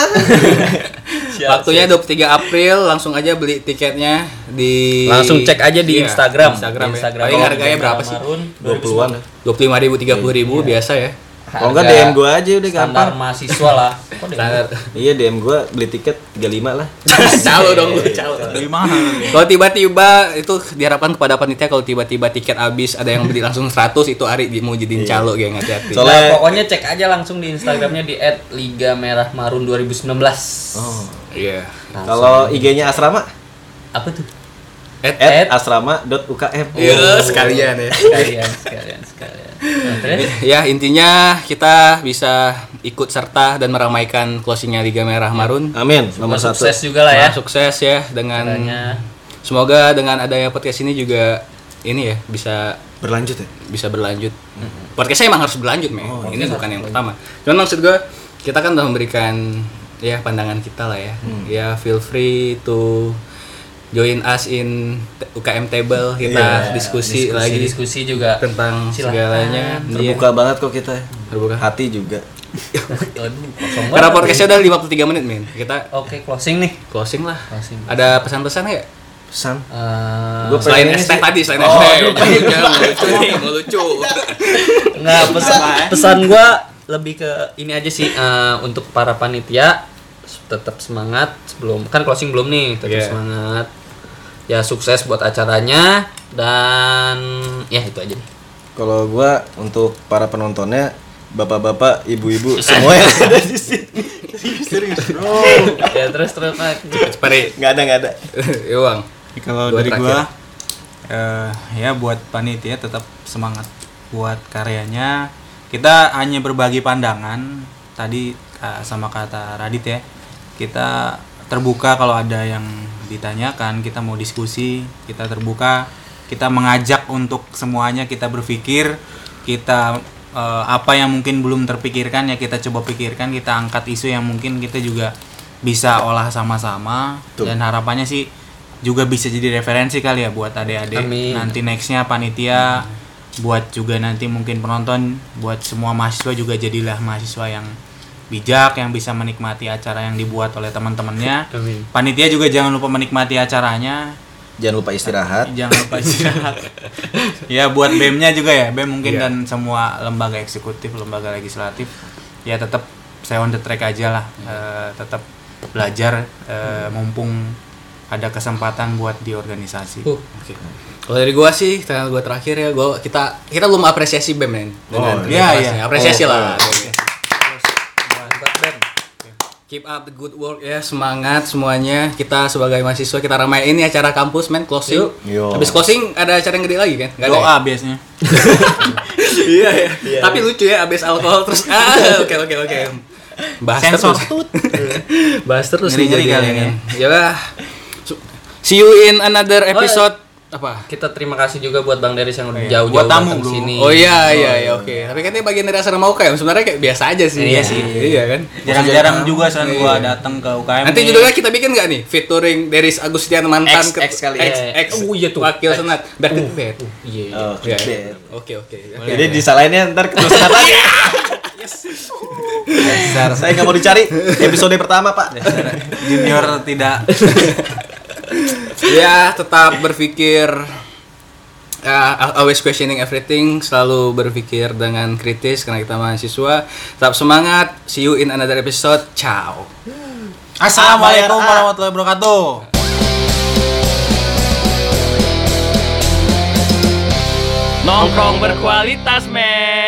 Waktunya 23 April, langsung aja beli tiketnya di
langsung cek aja di
Iya,
Instagram Oh, iya.
Instagram.
Di
ya. Paling harganya berapa sih?
Marun.
20-an.
25.000
ya.
30.000
Iya.
biasa ya.
Kalau enggak
Harga
DM gua aja udah
standar
gampang.
mahasiswa lah Kok DM?
Iya DM gua beli tiket 35 lah.
calo dong, gua, calo.
Iya, Lebih mahal.
Kalau tiba-tiba itu diharapkan kepada panitia kalau tiba-tiba tiket habis ada yang beli langsung 100 itu Ari di- mau jadiin calo geng hati-hati.
Soalnya-
Nah, pokoknya cek aja langsung di Instagramnya di @ligamerahmarun 2019.
Oh.
Iya.
Kalau IG-nya asrama
Apa tuh?
Eh,
at asrama.ukm.
Iya, sekalian ya.
Sekalian, sekalian, sekalian. Nah, terus?
Ya, intinya kita bisa ikut serta dan meramaikan closingnya Liga Merah Marun.
Amin. Nomor
Semoga
satu.
sukses juga lah ya.
Nah, sukses ya dengan
Caranya.
semoga dengan adanya podcast ini juga ini ya bisa
Berlanjut ya.
bisa berlanjut. Podcastnya emang harus berlanjut, men. ini bukan yang pertama. Cuman maksud gue, kita kan udah memberikan ya pandangan kita lah ya. Ya feel free to join us in t- UKM table kita diskusi, lagi
diskusi juga
tentang
Silahkan.
segalanya. Iya.
Terbuka banget kok kita. ya.
Terbuka.
Hati juga.
Aduh, kosong
Karena
banget.
podcastnya udah 53 menit, men. Kita
Oke, closing nih.
closing lah.
Closing.
Ada pesan-pesan nggak?
Pesan.
Eh,
Gua
Selain
pengennya
ST
sih-
tadi, selain ST. Jangan lucu, jangan lucu.
Nggak, pesan pesan gue lebih ke ini aja sih eh, untuk para panitia tetap semangat sebelum kan closing belum nih tetap
Iya.
semangat ya sukses buat acaranya dan ya itu aja deh.
Kalau gua untuk para penontonnya bapak-bapak, ibu-ibu semua yang ada di sini.
ya terus terus Pak.
Cepat deh.
Nggak ada nggak ada.
Yo, Bang.
Ya, kalau
Dua
dari
terakhir.
gua eh, ya buat panitia tetap semangat buat karyanya. Kita hanya berbagi pandangan tadi eh, sama kata Radit ya. Kita terbuka kalau ada yang ditanyakan, kita mau diskusi, kita terbuka, kita mengajak untuk semuanya kita berpikir, kita eh, apa yang mungkin belum terpikirkan ya kita coba pikirkan, kita angkat isu yang mungkin kita juga bisa olah sama-sama dan harapannya sih juga bisa jadi referensi kali ya buat adik-adik
Amin.
nanti nextnya panitia buat juga nanti mungkin penonton buat semua mahasiswa juga jadilah mahasiswa yang bijak yang bisa menikmati acara yang dibuat oleh teman-temannya
Amin.
panitia juga jangan lupa menikmati acaranya
Jangan lupa istirahat.
jangan lupa istirahat ya buat BEM-nya juga ya BEM mungkin
Iya.
dan semua lembaga eksekutif lembaga legislatif ya tetap saya on the track aja lah
Iya.
Eh, tetap belajar eh,
Hmm.
mumpung ada kesempatan buat di organisasi
Iya.
Uh,
Kalau dari gua sih, karena gua terakhir ya, gua kita kita belum apresiasi BEM men. Dengan
Oh,
iya,
kerasnya.
iya.
Apresiasi
Oh,
lah.
Hebat, Ben.
Keep up the good work ya, semangat semuanya. Kita sebagai mahasiswa kita ramai ini acara kampus men closing.
Yo.
Habis closing ada acara yang gede lagi kan? Nggak ada ya?
doa biasanya
iya ya. Tapi lucu ya abis alkohol terus ah oke oke oke. Bahas
Sensor
terus. Bahas terus nih
Ngeri-ngeri
jadinya
kali ini.
Ya lah. Su- See you in another episode apa?
Kita terima kasih juga buat Bang Deris yang udah
Iya.
jauh-jauh
Buat tamu,
datang
bro.
sini.
Oh iya iya iya oke. Tapi kan ini bagian dari asrama UKM sebenarnya kayak biasa aja sih.
Iya sih.
Iya kan.
jarang-jarang juga soalnya gua datang ke UKM
Nanti
nih.
judulnya kita bikin nggak nih? Featuring Deris Agustian mantan
X- X kali
X,
ya.
X,
Oh, iya tuh.
Wakil
X.
Senat. Back to back.
Iya. iya.
Oh,
Iya.
clear.
Oke oke. oke.
Jadi disalahinnya ntar keterusan lagi. Saya nggak mau dicari episode pertama pak.
junior tidak
ya tetap berpikir ya, always questioning everything selalu berpikir dengan kritis karena kita mahasiswa tetap semangat see you in another episode ciao
assalamualaikum warahmatullahi wabarakatuh
Nongkrong berkualitas, men.